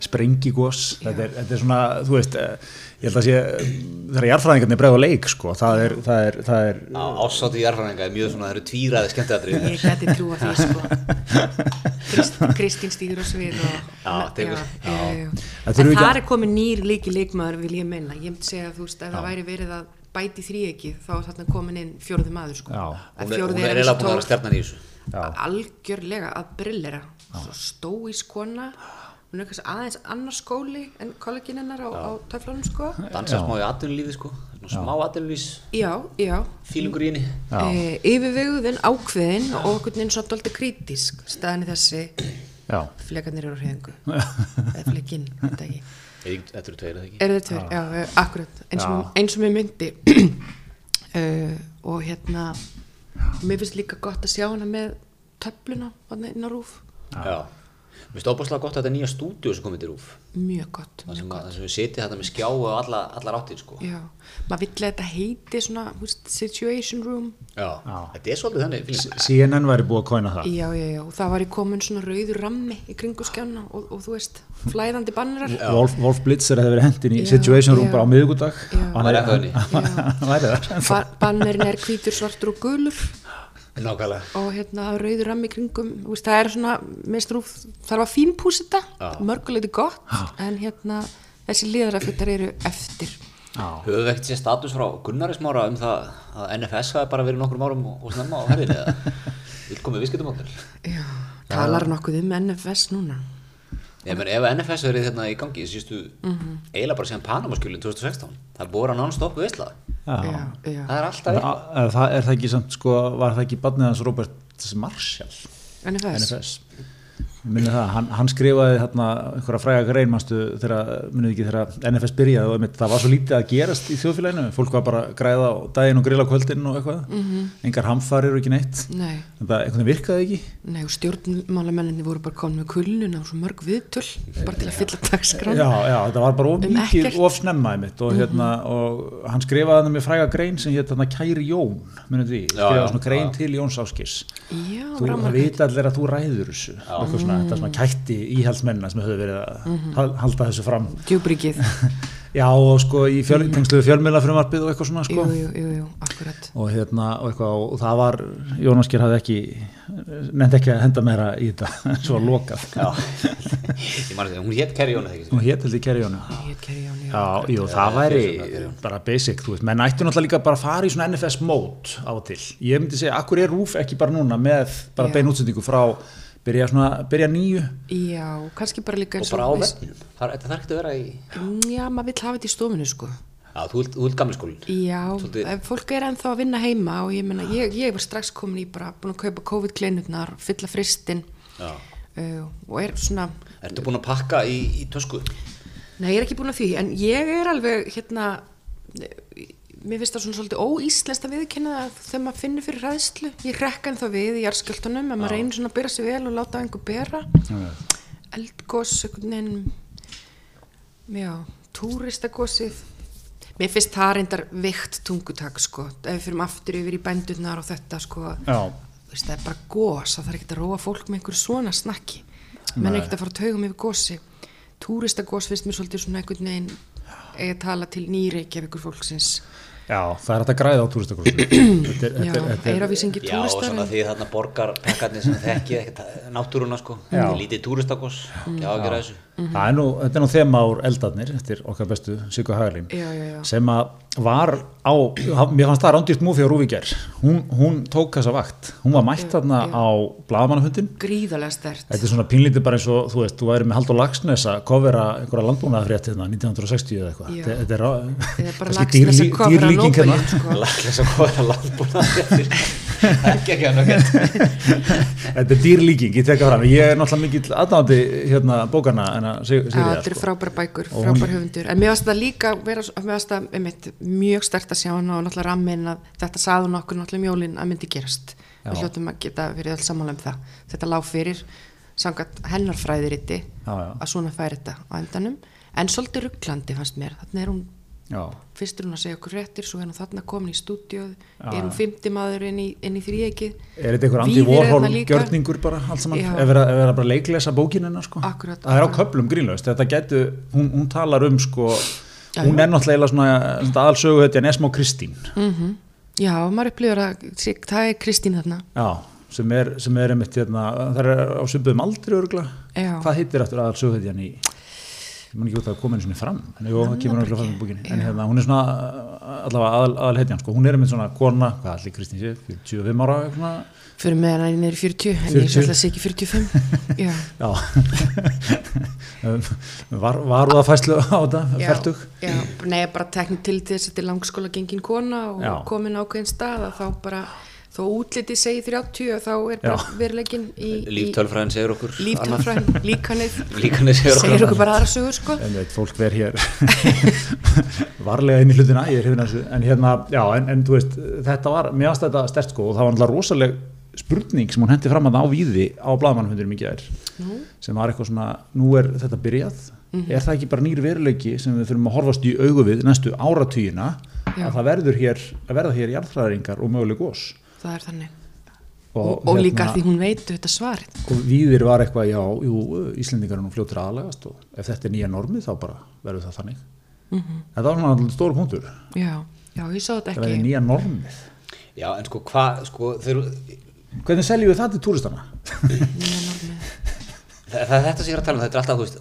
Speaker 1: sprengigós þetta er, þetta er svona, þú veist eh, ég held að sé, eh, þegar jarðfræðingarnir bregða á leik sko, það er, það er, það er
Speaker 3: Á ásáttu jarðfræðinga er mjög svona, það eru tvíraði skemmtiðatrið.
Speaker 2: Ég geti trúa því sko Krist, Kristín stýgur á svið og,
Speaker 3: Já, tekur.
Speaker 2: já, já, já.
Speaker 1: Það
Speaker 2: En
Speaker 1: þurfum við ekki
Speaker 2: það
Speaker 1: að-
Speaker 2: er komin nýr líki leikmaður vil ég minna, ég myndi segja að þú veist ef það væri verið að bæti þríekið þá er þarna komin inn fjórði maður sko
Speaker 1: Já.
Speaker 2: Að
Speaker 3: Hún er,
Speaker 2: fjórði
Speaker 3: hún er
Speaker 2: eins
Speaker 3: eiginlega
Speaker 2: og
Speaker 3: búin að vera
Speaker 2: tólf.
Speaker 3: stjarnan í þessu.
Speaker 2: algjörlega að brillera svo stóís kona hún er kannski aðeins annars skóli en kollegin hennar á, á töflunum sko *laughs*
Speaker 3: Dansa smá í atvinnulífi sko, Nú, smá atvinnulís,
Speaker 2: já, já
Speaker 3: fílingur í henni.
Speaker 2: e, yfirveguðin, ákveðin og okkur neins svona dólti krítisk staðan í þessi
Speaker 1: já,
Speaker 2: flekarnir eru á hreyfingu *laughs* eða flekinn, þetta ekki
Speaker 3: Ég veit, Þetta eru tveir, eða ekki?
Speaker 2: eru þið tveir, já, já akkurat eins og, eins og mér myndi *clears throat* uh, og hérna mér finnst líka gott að sjá hana með töfluna hann inn á rúf
Speaker 3: Já. Mér finnst óbúslega gott að þetta nýja stúdíu sem komið til rúf.
Speaker 2: mjög gott
Speaker 3: Það sem, að, það sem við setjum þetta með skjá og alla, allar áttir sko.
Speaker 2: já, maður vill að þetta heiti svona, þú veist, situation room
Speaker 3: Já. Þetta er svolítið þannig. fíling.
Speaker 1: CNN væri búið að kóina það
Speaker 2: já, já, já, og það var í komin svona rauður rammi í kringu skjána og, og þú veist flæðandi bannarar
Speaker 1: Wolf, Wolf Blitzer hefði verið hendin í
Speaker 2: Já,
Speaker 1: Situation Room
Speaker 2: já.
Speaker 1: bara á miðugudag
Speaker 2: Já.
Speaker 1: hann er-
Speaker 3: Væri ennþá
Speaker 1: hann- *laughs*
Speaker 3: inni.
Speaker 1: hann væri það
Speaker 2: Ba- bannerinn er hvítur, svartur og gulur
Speaker 3: Nákvæmlega.
Speaker 2: og hérna það er rauður rammi í kringum þú veist, það er svona, minnst rúf þarf að fínpúsa þetta,
Speaker 3: Já.
Speaker 2: mörguleiti gott en hérna þessi liðarafittar eru eftir
Speaker 1: Já.
Speaker 3: Höfum við ekkert séð status frá Gunnari smára um það að NFS hafi bara verið nokkrum árum og, og snemma á ferðinni *laughs* eða vilkomið viðskiptumóttur?
Speaker 2: Já. talar nokkuð um NFS núna
Speaker 3: Ég menn ef NFS verið þarna í gangi, sístu, eiginlega bara síðan Panamaskjölinn 2016, það er bóra non-stop veisla.
Speaker 1: Já.
Speaker 2: já,
Speaker 3: Það er alltaf
Speaker 1: Það,
Speaker 3: veisla.
Speaker 1: er það er það ekki samt sko var það ekki barnið hans Robert Marshall
Speaker 2: NFS,
Speaker 1: NFS minni það, hann, hann skrifaði hérna einhverja fræga grein mannstu þegar, minni ekki þegar NFS byrjaði og einmitt, það var svo lítið að gerast í þjóðfélaginu, fólk var bara að græða á daginn og grilla á kvöldin og eitthvað
Speaker 2: Mhm.
Speaker 1: engar hamfarir og ekki neitt
Speaker 2: nei,
Speaker 1: en það einhvern veginn virkaði ekki
Speaker 2: nei og stjórnmálamenninni voru bara komin með kulnuna og svo mörg viðtöl bara til að fylla dagskráð
Speaker 1: já, já, þetta var bara of
Speaker 2: Um
Speaker 1: mikið,
Speaker 2: ekkert. Mhm.
Speaker 1: of snemma einmitt og, hérna, og hann skrifaði hann með fræga grein sem hétt hérna Kæri Jón minni því,
Speaker 3: Já,
Speaker 1: skrifaði
Speaker 3: já,
Speaker 1: svona grein
Speaker 3: já.
Speaker 1: til Jóns Áskis
Speaker 2: já,
Speaker 1: þú
Speaker 2: rammar-
Speaker 1: veit allir að þú ræður þessu eitthvað svona, þetta
Speaker 2: Mm.
Speaker 1: svona kætti íhaldsmennina sem höfðu verið að
Speaker 2: Mhm.
Speaker 1: hal- halda þessu fram
Speaker 2: djúbríkið
Speaker 1: Já og sko í fjöl, tengslu við fjölmiðlafrumvarpið og eitthvað svona sko
Speaker 2: Mm. jú, jú, jú, jú, akkurat
Speaker 1: og hérna og eitthvað og það var Jónas Geir hafði ekki nefndi ekki að henda meira í þetta *laughs* svo var lokað
Speaker 3: Já, ég man að hún hétt Kerry Jónu þegar
Speaker 1: og hér til því kæri Jónu
Speaker 2: ég heit kæri Jón, já,
Speaker 1: Já, jú, það væri
Speaker 3: fyrir svona,
Speaker 1: bara basic, þú veist, menn ættu náttúrulega líka bara að fara í svona NFS mót á og til ég myndi segja, akkur er Rúf ekki bara núna með bara
Speaker 2: Já.
Speaker 1: bein útsendingu frá byrja svona, byrja nýju
Speaker 2: já, kannski bara líka
Speaker 3: og
Speaker 2: eins
Speaker 3: bara á
Speaker 2: við-
Speaker 3: vefnum. Það er- þetta þarf ekkert að vera í...
Speaker 2: Já, maður vill hafa þetta í stofunni sko.
Speaker 3: Já, þú vilt- þú vilt gamli skólinn.
Speaker 2: Já,
Speaker 3: Svolítið-
Speaker 2: ef fólk er ennþá að vinna heima og ég, meina, ég, ég var strax komin í bara búin að kaupa COVID-kleinurnar, fylla fristin
Speaker 3: Já.
Speaker 2: uh, og er svona,
Speaker 3: Ertu búin að pakka í, í tösku?
Speaker 2: nei ég er ekki búin að því, en ég er alveg hérna, eh, mér finnst það svona svolítið óíslenskt að viðkynna það þegar maður finnur fyrir hræðslu, ég rekka ennþá við í jarskjöldunum, en maður reynir svona að byrja sig vel og láta á einhver bera, eldgós, einhvern veginn, já, túristagósið, Mér finnst það reyndar veikt tungutak sko, ef við fyrir aftur yfir í bændurnar og þetta sko,
Speaker 1: Já,
Speaker 2: Þú veist, það er bara gós að það er ekkert að róa fólk með einhverju svona snakki menn er ekkert að fara að taugum yfir gósi túristagós finnst mér svolítið svona einhvern veginn eigi að tala til nýreikjavíkur fólksins
Speaker 1: já, það er hægt að græða á *clears throat* túristakursum
Speaker 2: já, eiravísingi
Speaker 3: Já, og
Speaker 2: túristar
Speaker 3: svona
Speaker 2: en-
Speaker 3: því þarna borgar pakkarnir sem þekki ekkert náttúruna sko.
Speaker 1: Já.
Speaker 3: Lítið túristakoss, já að gera þessu.
Speaker 2: Mhm.
Speaker 1: Það er nú, þetta er nú þema úr eldarnir eftir okkar bestu Sigga Hagalín
Speaker 2: Já, já, já.
Speaker 1: sem að var á mér fannst það rándýrt múfi á Rúvíkjær hún, hún tók þessa vakt, hún var mætt þarna á blaðamannafundin
Speaker 2: gríðarlega stert
Speaker 1: Þetta er svona pínlítið bara eins og þú veist, þú væri með Haldur Lagsnes að kofera einhverja landbúnaðafrétt hérna 1960 eða eitthvað
Speaker 2: Já.
Speaker 1: Þetta- Þetta er á-
Speaker 2: eða
Speaker 1: *laughs*
Speaker 2: bara
Speaker 1: kannski
Speaker 2: lagsnes að
Speaker 1: dýrlí-
Speaker 2: kofra
Speaker 1: dýrlíking hérna.
Speaker 2: nóbelin
Speaker 3: *laughs*
Speaker 2: sko.
Speaker 3: Laglega svo góða landbúna Það er ekki ekki að nöggja
Speaker 1: *laughs* Þetta er dýrlíking, ég tekka fram Ég er náttúrulega mikill aðnáðandi hérna bókana en að sig,
Speaker 2: Já,
Speaker 1: Sigríðar,
Speaker 2: þetta eru
Speaker 1: sko.
Speaker 2: frábæra bækur, frábæra höfundur en mér varst það líka, vera, mér varst það einmitt, mjög stert að sjá hann og náttúrulega rammin að þetta saðun okkur náttúrulega mjólin að myndi gerast við hljóttum að geta verið alls sammála um það þetta lág fyrir, sangat hennar fræðiriti
Speaker 1: Já, já.
Speaker 2: að svona færi þetta á endanum en svolítið rugglandi fannst mér, þannig er hún
Speaker 1: Já,
Speaker 2: fyrst er hún að segja okkur réttir, svo er hún þarna komin í stúdíóð,
Speaker 1: Já,
Speaker 2: er hún
Speaker 1: já.
Speaker 2: fymti maður inn í, inn í þríekið
Speaker 1: Er þetta einhver
Speaker 2: Víðir
Speaker 1: Andy
Speaker 2: er þarna
Speaker 1: Warhol
Speaker 2: líka.
Speaker 1: gjörningur bara allt saman?
Speaker 2: Já.
Speaker 1: Ef verða er bara að leiklesa bókinina sko?
Speaker 2: Akkúrat,
Speaker 1: Það er á
Speaker 2: akkúrat.
Speaker 1: köplum grínlaust, þetta getu, hún, hún talar um sko, hún er náttúrulega eiginlega svona, svona aðalsögu þetta en Esmó Kristín.
Speaker 2: Mhm. Já, maður upplifur að það er Kristín þarna
Speaker 1: Já, sem er, sem er einmitt hérna, það er á söpum aldri örgla.
Speaker 2: Já.
Speaker 1: Hvað heitir aftur aðalsögu þetta í, ég man ekki út að koma henni svona fram, en jú, það kemur náttúrulega fram í bókinni. En hérna, hún er svona uh, allavega aðal, aðal sko, hún er einmitt svona kona, hvað allir Kristín sé, 45 ára eitthvað svona.
Speaker 2: Fyrir með hana niður í 40, en 40. ég
Speaker 1: 40.
Speaker 2: ætla að segja ekki
Speaker 1: *laughs*
Speaker 2: 45. Já.
Speaker 1: Já, *laughs* var, var það fæslu á þetta,
Speaker 2: Já,
Speaker 1: færtug?
Speaker 2: Já, nei, bara teknir til þess að þetta er langskóla gengin kona og
Speaker 1: Já.
Speaker 2: komin ákveðin stað að þá bara, þó útlitið segi 30 og þá er bara
Speaker 1: Já.
Speaker 2: verulegin í, í
Speaker 3: Líftölfræðin segir okkur annað.
Speaker 2: líftölfræðin,
Speaker 3: *laughs*
Speaker 2: líkanið,
Speaker 3: Líkanið segir okkur
Speaker 2: segir
Speaker 3: annað.
Speaker 2: okkur bara aðra sögur sko.
Speaker 1: En veit, fólk verð hér *laughs* varlega inn í hlutina, ég er hefðin að þessu, en hérna, já, en, en þú veist, þetta var, mér aðstæða þetta stert sko og það var náttúrulega rosaleg spurning sem hún hendi fram að á víði á blaðmannfundinum í gær
Speaker 2: Nú, Mhm.
Speaker 1: sem var eitthvað svona, nú er þetta byrjað er það ekki bara nýr veruleiki sem við þurfum að horfast í augu við næstu áratugina
Speaker 2: Já.
Speaker 1: að það verður hér að verða hér jarðfræðingar og möguleg gos
Speaker 2: það er þannig. Og, og líka
Speaker 1: hérna-
Speaker 2: því hún veit þetta svarið.
Speaker 1: og víðir var eitthvað, já, jú, Íslendingar er nú fljótur að aðlegast og ef þetta er nýja normið þá bara verður það þannig þetta var svona stór punktur það
Speaker 2: Já, já, ég sá þetta
Speaker 1: verður
Speaker 2: ekki.
Speaker 1: nýja normið
Speaker 3: Já, en sko, hvað, sko, þeir,
Speaker 1: hvernig seljum við það til túristana?
Speaker 3: það, það, þetta sem ég er að tala um, þetta er alltaf, þú veist,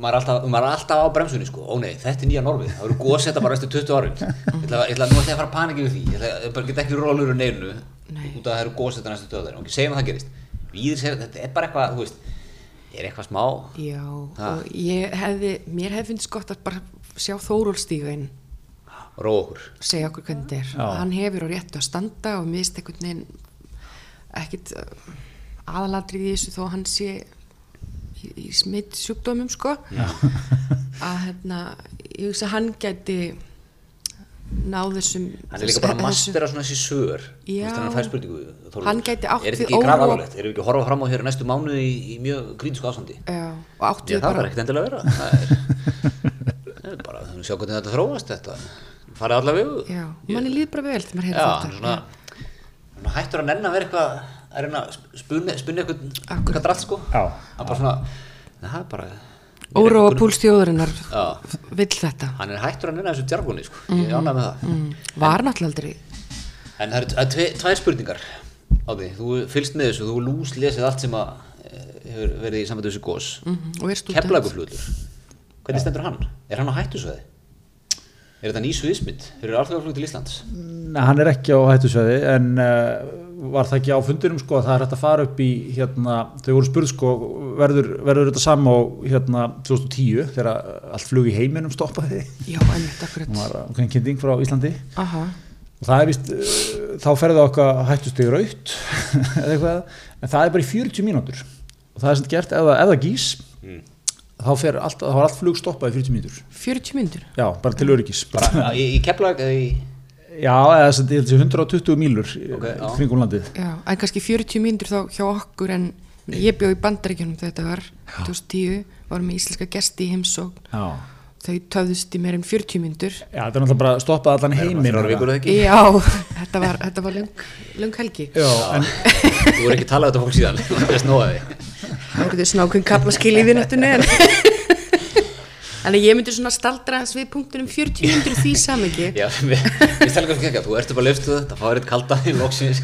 Speaker 3: maður er alltaf, maður er alltaf á bremsunni, sko, ó nei, þetta er nýja normið, það eru góðsetta bara næstu 20 árin, ég ætla, ég ætla nú ætla ég að fara að panika yfir því, ég ætla, ég bara get ekki rólur og neinu,
Speaker 2: Nei.
Speaker 3: út af það eru góðsetta næstu 20 árin, ok, segjum að það gerist, víðir segir, þetta er bara eitthvað, þú veist, er eitthvað smá,
Speaker 2: Já,
Speaker 3: Ha.
Speaker 2: og ég hefði, mér hefði fundist gott að bara sjá Þórólstígin
Speaker 3: róa okkur,
Speaker 2: segja okkur hvernig þetta er.
Speaker 1: Já.
Speaker 2: Hann hefur á réttu að standa og miðst einhvern veginn ekkit aðaladrið í þessu þó að hann sé í, í smitt sjúkdómum sko. *laughs* Að hérna, ég hugsa að hann gæti náð þessum...
Speaker 3: hann er líka bara
Speaker 2: þessu-
Speaker 3: master að svona þessi sör, þú
Speaker 2: Sko, Já.
Speaker 3: veist, hann fær spurningu, Þórður,
Speaker 2: Hann gæti átt
Speaker 3: er
Speaker 2: við
Speaker 3: þetta ekki
Speaker 2: óróa-
Speaker 3: grafalvarlegt? Erum við ekki að horfa fram á hér næstu mánuði í, í mjög krítisku ástandi?
Speaker 2: Já, og átti
Speaker 3: Já,
Speaker 2: við
Speaker 3: það
Speaker 2: bara...
Speaker 3: var ekkert endilega að vera.
Speaker 2: *laughs*
Speaker 3: Það er, það er bara, þannig að sjá hvernig þetta þróast þetta. Farið allaveg við.
Speaker 2: Já, manni hérna líð bara vel þegar maður
Speaker 3: Já,
Speaker 2: hefði þetta.
Speaker 3: hann er svona, hann er hættur að nenn að vera eitthvað, að reyna að spunni, spunni eitthvað,
Speaker 2: Akkurat.
Speaker 3: eitthvað drætt sko.
Speaker 1: Já.
Speaker 3: Hann bara svona, það er bara,
Speaker 2: Óróa púls þjóðurinnar
Speaker 3: Já.
Speaker 2: vill þetta.
Speaker 3: hann er hættur að nenn að þessu djargóni sko. Ég ánæg með það.
Speaker 2: Mm. Var náttúrulega aldrei.
Speaker 3: En það eru t- það eru tve- tvær spurningar á því. Þú fylgst með þessu, þú lús lesið allt sem að eh, hefur verið í sambandi við þessu gós.
Speaker 2: Mm. Og er stúdent.
Speaker 3: Keflaguflutur, hvernig stendur hann? Er hann á hættu svo Er þetta ný sviðsmynd? Fyrir alþjóðaflug til Íslands?
Speaker 1: Nei, Mm, hann er ekki á hættusveði en uh, var það ekki á fundinum sko að það er hægt að fara upp í hérna, þau voru spurð sko verður, verður þetta sama á hérna 2010 þegar allt flug í heiminum stoppaði
Speaker 2: Já, einmitt, akkurat.
Speaker 1: hún var okkur kynning frá Íslandi
Speaker 2: Aha,
Speaker 1: og það er vist, uh, þá ferðu okkar hættustig raut *laughs* eða eitthvað, en það er bara í 40 mínútur og það er sem sagt gert ef það- ef það gís þá fer allt, þá er allt flug stoppað í 40 mínútur
Speaker 2: 40 myndur.
Speaker 1: já, bara til öryggis
Speaker 3: *laughs* Bara í, í Keflag eða í...
Speaker 1: *laughs* já, eða sem sagt, ég held að sé 120 mílur
Speaker 3: Ok,
Speaker 1: okay,
Speaker 3: já.
Speaker 1: kringum landið
Speaker 2: Já, en kannski 40 myndur þá hjá okkur en ég bjóð í bandaríkjunum þegar þetta var 2010, varum með íslenska gesti í heimsókn,
Speaker 1: já
Speaker 2: þau töðust í meir en 40 myndur.
Speaker 1: Já, þetta er náttúrulega bara að stoppa allan heiminn
Speaker 3: Þrjár vikur eða ekki?
Speaker 2: Já, þetta var, þetta var löng, löng helgi.
Speaker 1: Já, en
Speaker 3: Þú voru ekki talað um þetta fólk *laughs* síðan, það er snóðið.
Speaker 2: Það voru þau svona ákveðin kaplaskil í vinnáttunni
Speaker 3: *laughs*
Speaker 2: en Þannig að ég myndi svona staldra hans við punktunum 40 myndur því samingi
Speaker 3: Já, við stelum kannski ekki að þú ertu bara löfstuð þetta, það fáið eitt kalda í loksins.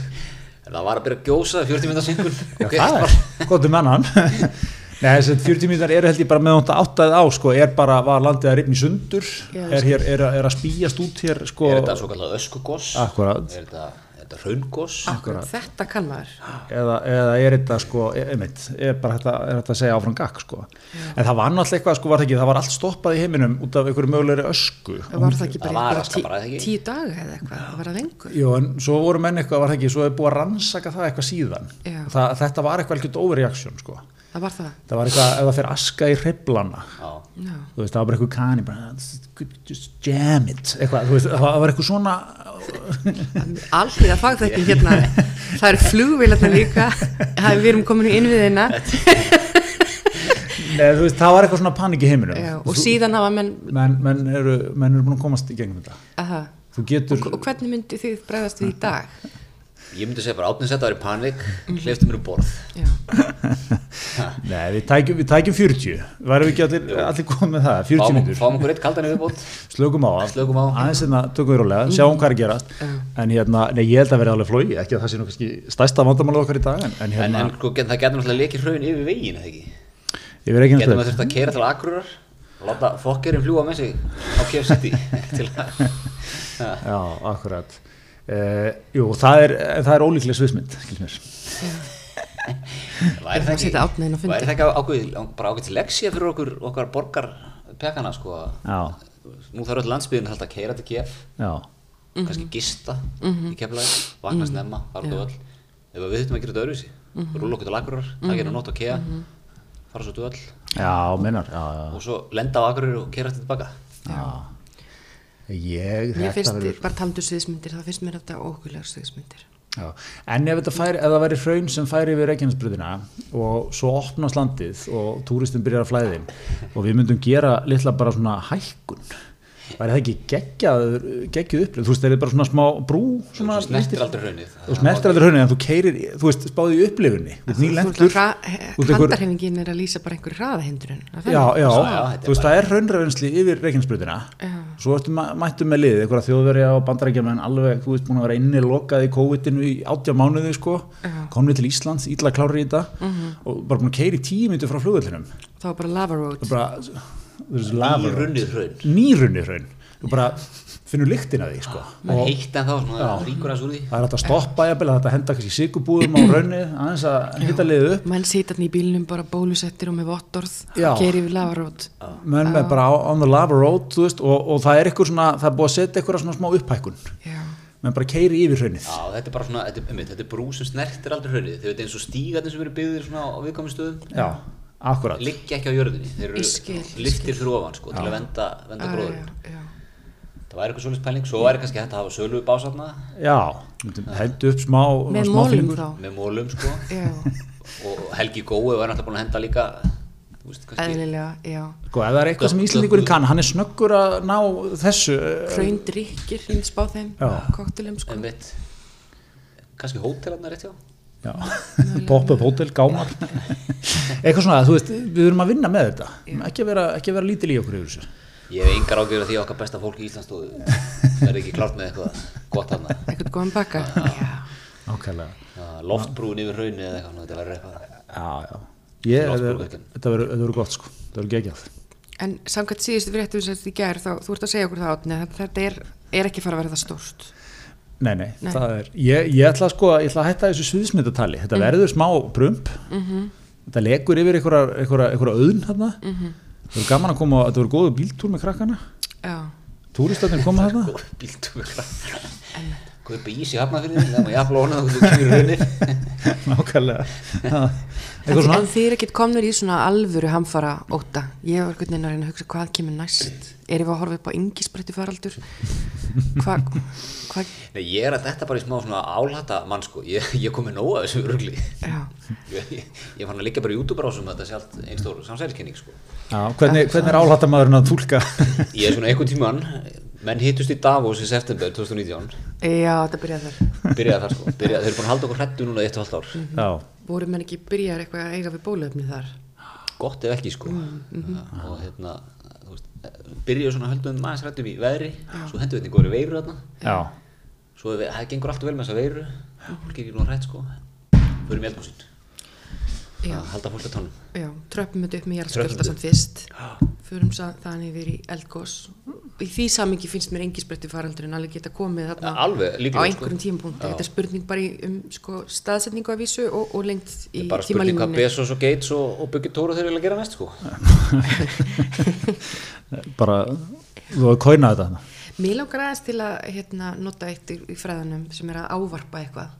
Speaker 3: En það var að byrja að gjósa 40 minnars yngur.
Speaker 1: já, það er gott um annan *laughs* Nei, þessi 40 mínútar eru held ég bara með hótt áttaðið á sko, er bara, var landið að rifna í sundur
Speaker 2: Já,
Speaker 1: er, hér, er, að- er að spýjast út hér sko,
Speaker 3: Er þetta svo kallað öskugoss?
Speaker 1: Akkúrat.
Speaker 3: Er þetta, er þetta raungoss?
Speaker 2: Akkurat. Þetta kann maður
Speaker 1: eða, eða er þetta sko, e- einmitt, er bara þetta, er þetta að segja áfram gakk sko. en það var náttúrulega eitthvað sko, var það ekki, það var allt stoppað í heiminum út af einhverju mögulegri ösku
Speaker 2: Var það ekki bara
Speaker 3: Það var
Speaker 2: einhverja
Speaker 3: alltaf
Speaker 2: tí,
Speaker 3: bara, eða ekki?
Speaker 2: tíu daga eða eitthvað Það var að lengur
Speaker 1: Jó, en svo voru menn eitthvað, var það ekki, svo er búið að rannsaka það eitthvað síðan
Speaker 2: Já.
Speaker 1: það, þetta var eitthvað algjörð overreaction sko.
Speaker 2: Það var það
Speaker 1: það var eitthvað, ef það fer aska í hreiflana
Speaker 3: Já.
Speaker 2: Já,
Speaker 1: þú veist, það var bara eitthvað kani bara, "Could you just jam it eitthvað, þú veist, það var eitthvað svona
Speaker 2: allir að fag þetta hérna Það eru flugvélarnar líka Það er við erum komin í innviðina
Speaker 1: Nei, þú veist, það var eitthvað svona panik í heiminum
Speaker 2: Já, og síðan hafa menn
Speaker 1: menn, menn, eru, menn eru búin að komast í gegnum þetta
Speaker 2: aha.
Speaker 1: þú getur,
Speaker 2: og, og hvernig myndi þið bregðast við í dag?
Speaker 3: Ég myndi segja bara átnins þetta var í panik, hleyftu mér um borð.
Speaker 2: Já,
Speaker 1: nei, við tækjum, við tækjum 40 værum við ekki allir, allir komið með það 40
Speaker 3: Fáum,
Speaker 1: minnur,
Speaker 3: fáum okkur eitt kaldan *laughs* yfirbót.
Speaker 1: slökum á það
Speaker 3: Slökum á. Mm.
Speaker 1: aðeins hérna, tökum við rólega, sjáum hvað er að gerast en hérna, nei, ég held að vera alveg flói ekki að það sé nú kannski stærsta vandamálið okkar í dag en, en
Speaker 3: En,
Speaker 1: hérna,
Speaker 3: en sko, get- það getur náttúrulega leikið hraun yfir veginn, eða ekki?
Speaker 1: ég verð ekki
Speaker 3: Getur
Speaker 1: náttúrulega
Speaker 3: maður þurft að keira til Akureyrar og láta fokkerinn fljúa með sig á KF City *laughs* til að Já.
Speaker 1: já, akkurat uh, jú, það er, það er ólíklega sviðsmynd, skilst mér
Speaker 3: væri
Speaker 2: Þurfum
Speaker 3: það
Speaker 2: að setja Árna inn á
Speaker 3: ekki,
Speaker 2: fundinn.
Speaker 3: væri það ekki ákveð, bara ákveðt leksja fyrir okkur, okkar borgar pekana sko að
Speaker 1: já,
Speaker 3: nú þarf öll landsbyðin að keira til KF
Speaker 1: já
Speaker 3: kannski gista í keflaði vakna snemma, fara út á völl ef við þurftum að gera þetta öðruvísi rúla okkur til Akureyrar, það getur nótt á KEA fara svo til völl
Speaker 1: Já, minnar já,
Speaker 3: og svo lenda á Akureyri og keira til tilbaka
Speaker 1: já, já. Ég,
Speaker 2: mér
Speaker 1: þetta
Speaker 2: finnst,
Speaker 1: verður
Speaker 2: bara talandu sviðismyndir, það finnst mér þetta ókulegar sviðismyndir
Speaker 1: Já. En ef, þetta færi, ef það væri hraun sem færi yfir Reykjanesbrutina og svo opnast landið og túristum byrjar að flæði og við myndum gera litla bara svona hækkun væri það ekki geggjaður, geggjuð upplif þú veist, það er bara svona smá brú svona
Speaker 3: Þú snertir aldrei hraunið.
Speaker 1: þú snertir aldrei hraunni en þú keirir, þú veist, spáðu í upplifunni þú veist, nýlendur
Speaker 2: Handarhefingin er að lýsa bara einhver hraðahindrun er það
Speaker 1: já,
Speaker 2: þannig?
Speaker 1: já,
Speaker 3: Já, þetta er
Speaker 1: þú veist, það er raunröðinsli yfir reikinsbrutina, svo ertu ma- mættu með lið, einhverja þjóðverja og bandarækjumenn alveg, þú veist, búin að vera inni lokað í COVID-inu í átja mánuði, sko komni til Íslands, ítla klári í þetta og bara búin að keiri tíu myndu frá flugullinum
Speaker 2: Það var bara lava road
Speaker 1: bara, þú veist,
Speaker 3: Í
Speaker 1: lafur
Speaker 3: runnið hraun.
Speaker 1: nýrunni hraun, þú bara finnur lyktin að því, sko
Speaker 3: Það
Speaker 1: og
Speaker 3: er heitt en þá, svona það ríkur að svo því.
Speaker 1: það er hægt að stoppa jafnvel, það er hægt að henda kannski sigubúðum á raunni, aðeins að hitta liðið upp
Speaker 2: Menn sita þarna í bílnum bara bólusettir og með vottorð
Speaker 1: Já.
Speaker 2: Gerir við lava road
Speaker 1: menn með bara á- on the lava road þú veist, og, og það er eitthvað svona það er búið að setja eitthvað svona smá upphækkun
Speaker 2: Já,
Speaker 1: menn bara keiri yfir hraunnið
Speaker 3: Já, þetta er bara svona, þetta er, einmitt, þetta er brú sem snertir aldrei hraunið. Þau veit eins og stígarnir sem eru byggðir svona á viðkomin stöðum,
Speaker 1: já, akkurat
Speaker 3: liggja ekki á jörðinni. Þeir
Speaker 2: Ég skil,
Speaker 3: eru
Speaker 2: ég
Speaker 3: liftir fyrir ofan, sko, til að venda, venda
Speaker 2: já,
Speaker 3: gróðurinn.
Speaker 2: já
Speaker 3: Það væri eitthvað svolítið pæling, svo væri kannski hægt að hafa sölu básatna
Speaker 1: já, hendu upp smá
Speaker 2: Með
Speaker 1: smá
Speaker 2: mólum
Speaker 1: fílingur.
Speaker 2: þá
Speaker 3: með mólum, sko.
Speaker 2: Já,
Speaker 3: og Helgi Gói var náttúrulega búin að henda líka, þú veist, kannski,
Speaker 2: eðlilega, já
Speaker 1: sko, ef það er eitthvað sem
Speaker 3: Gö-
Speaker 1: Íslandingurinn
Speaker 3: gö-
Speaker 1: kann hann er snöggur að ná þessu eh,
Speaker 2: Hraundrykkir, ég myndi spá þeim
Speaker 1: Já.
Speaker 2: Koktelum sko
Speaker 3: einmitt, kannski hótelarna rétt hjá.
Speaker 1: já, *laughs* pop-up hótel, gámar *laughs* eitthvað svona, þú veist, við verum að vinna með þetta ekki að vera, ekki að vera lítil í okkur yfir þessu
Speaker 3: Ég hef engar ágjörð því að okkar besta fólk í Íslandstóðu verði ekki klárt með eitthvað gott hann
Speaker 2: Ekkert góðan baka Já
Speaker 1: ákveðlega
Speaker 3: loftbrúin yfir hraunni eða eitthvað, svona, þetta verður eitthvað
Speaker 1: já, já Ég,
Speaker 3: Loftbrúðvirkjun.
Speaker 1: þetta verður- þetta verður gott sko, þetta verður geggjað
Speaker 2: En samkvæmt síðustu fréttum sem þetta í gær, þá, þú ert að segja okkur það átni, þetta er, er ekki fara að verða stórt.
Speaker 1: Nei, nei,
Speaker 2: Nei.
Speaker 1: það er, ég, ég ætla sko að, ég ætla að hætta þessu sviðsmyndatali, þetta verður smá brump, þetta legur yfir einhverja, einhverja, einhverja auðn þarna, það verður gaman að koma, þetta verður góðu bíltúr með krakkana,
Speaker 2: Já,
Speaker 1: túristatnir koma
Speaker 3: *laughs*
Speaker 1: þarna,
Speaker 3: Góður bíltúr Kaupi ís í hafnafyrðin, það maður jafnla honum og þú kemur hraunir
Speaker 1: *laughs* nákvæmlega, Ha, eitthvað
Speaker 2: en
Speaker 1: svona,
Speaker 2: þið er ekkert komnir í svona alvöru hamfara óta. Ég var einhvern veginn að reyna að hugsa hvað kemur næst. Erum við að horfa upp á yngisbreytti faraldur? Hvað, hvað,
Speaker 3: Nei, ég er að þetta bara í smá svona álhata mann sko, ég, ég kom með nóa þessu rugli
Speaker 2: já,
Speaker 3: Ég, ég, ég fann að líka bara í YouTube rásum þetta sé allt einn stór samsæliskenning sko
Speaker 1: já, hvernig, hvernig er álhattamæðurinn að túlka,
Speaker 3: *laughs* Ég er svona einhvern tímann, menn hittust í Davos í september 2019
Speaker 2: já, þetta byrjaði þar.
Speaker 3: Byrjaði það sko, byrjaði, þeir eru búin að halda okkur hrættu núna í eitt og halvt ár
Speaker 1: já,
Speaker 2: Vorum menn ekki byrjar eitthvað að eiga við bólöfni þar?
Speaker 3: gott ef ekki sko og hérna þú veist, byrjuðu svona höldum aðeins hrættum í veðri svo hendur við þetta góður veiru þarna
Speaker 1: já, *laughs*
Speaker 3: svo við, það gengur allt vel með þessa veiru fólk er ekki nú hrætt sko fyrir með eldhúsin
Speaker 2: Já.
Speaker 3: að halda fólk að tónum
Speaker 2: Já, tröppum þetta upp með
Speaker 3: Tröppum
Speaker 2: jarðskjölda
Speaker 3: þetta
Speaker 2: samt fyrst förum sa- þannig yfir í eldgós í því samingi finnst mér engi sprettu faraldurinn alveg geta komið þarna
Speaker 3: Ja, alveg, líklega,
Speaker 2: á
Speaker 3: sko.
Speaker 2: einhverjum tímapunkti, þetta er spurning bara í- um sko, staðsetningu af vísu og, og lengt í
Speaker 3: Í bara spurning hvað
Speaker 2: tímalínunni
Speaker 3: Bezos og Gates og, og Buggy Tóra þeir vilja gera næst sko
Speaker 1: bara, þú hefur kóinað þetta þarna.
Speaker 2: Mér langar aðeins til að hérna, nota eitt í, í fræðanum sem er að ávarpa eitthvað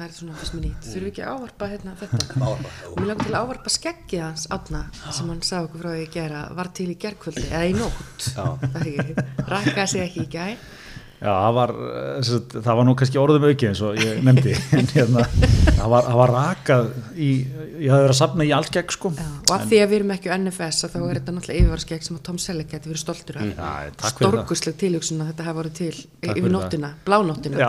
Speaker 2: það er svona fyrst mér nýtt, þurfum við ekki að ávarpa hérna, þetta
Speaker 3: Mm. Ávarpa, jú.
Speaker 2: Mér langar til að ávarpa skeggið hans átna sem hann sagði okkur frá því að gera var til í gerkvöldi eða í nótt
Speaker 3: Já.
Speaker 2: Það er ekki- rakkaði sig ekki í gær
Speaker 1: Já, það var, eh, sem sagt, það var nú kannski orðum auki eins og ég
Speaker 2: *laughs*
Speaker 1: nefndi, en hérna, það var, það var rakað í, ég hafði verið að safna í allt gegn sko.
Speaker 2: Já, og af því að við erum ekki á NFS að þá er þetta náttúrulega yfirvarskegg sem að Tom Selleck geti verið stoltur
Speaker 3: Mm.
Speaker 2: af
Speaker 1: Já, takk fyrir það.
Speaker 2: stórkusleg tilhugsun að þetta hafa voru til
Speaker 1: Takk
Speaker 2: yfir
Speaker 1: fyrir
Speaker 2: nóttina, blánóttina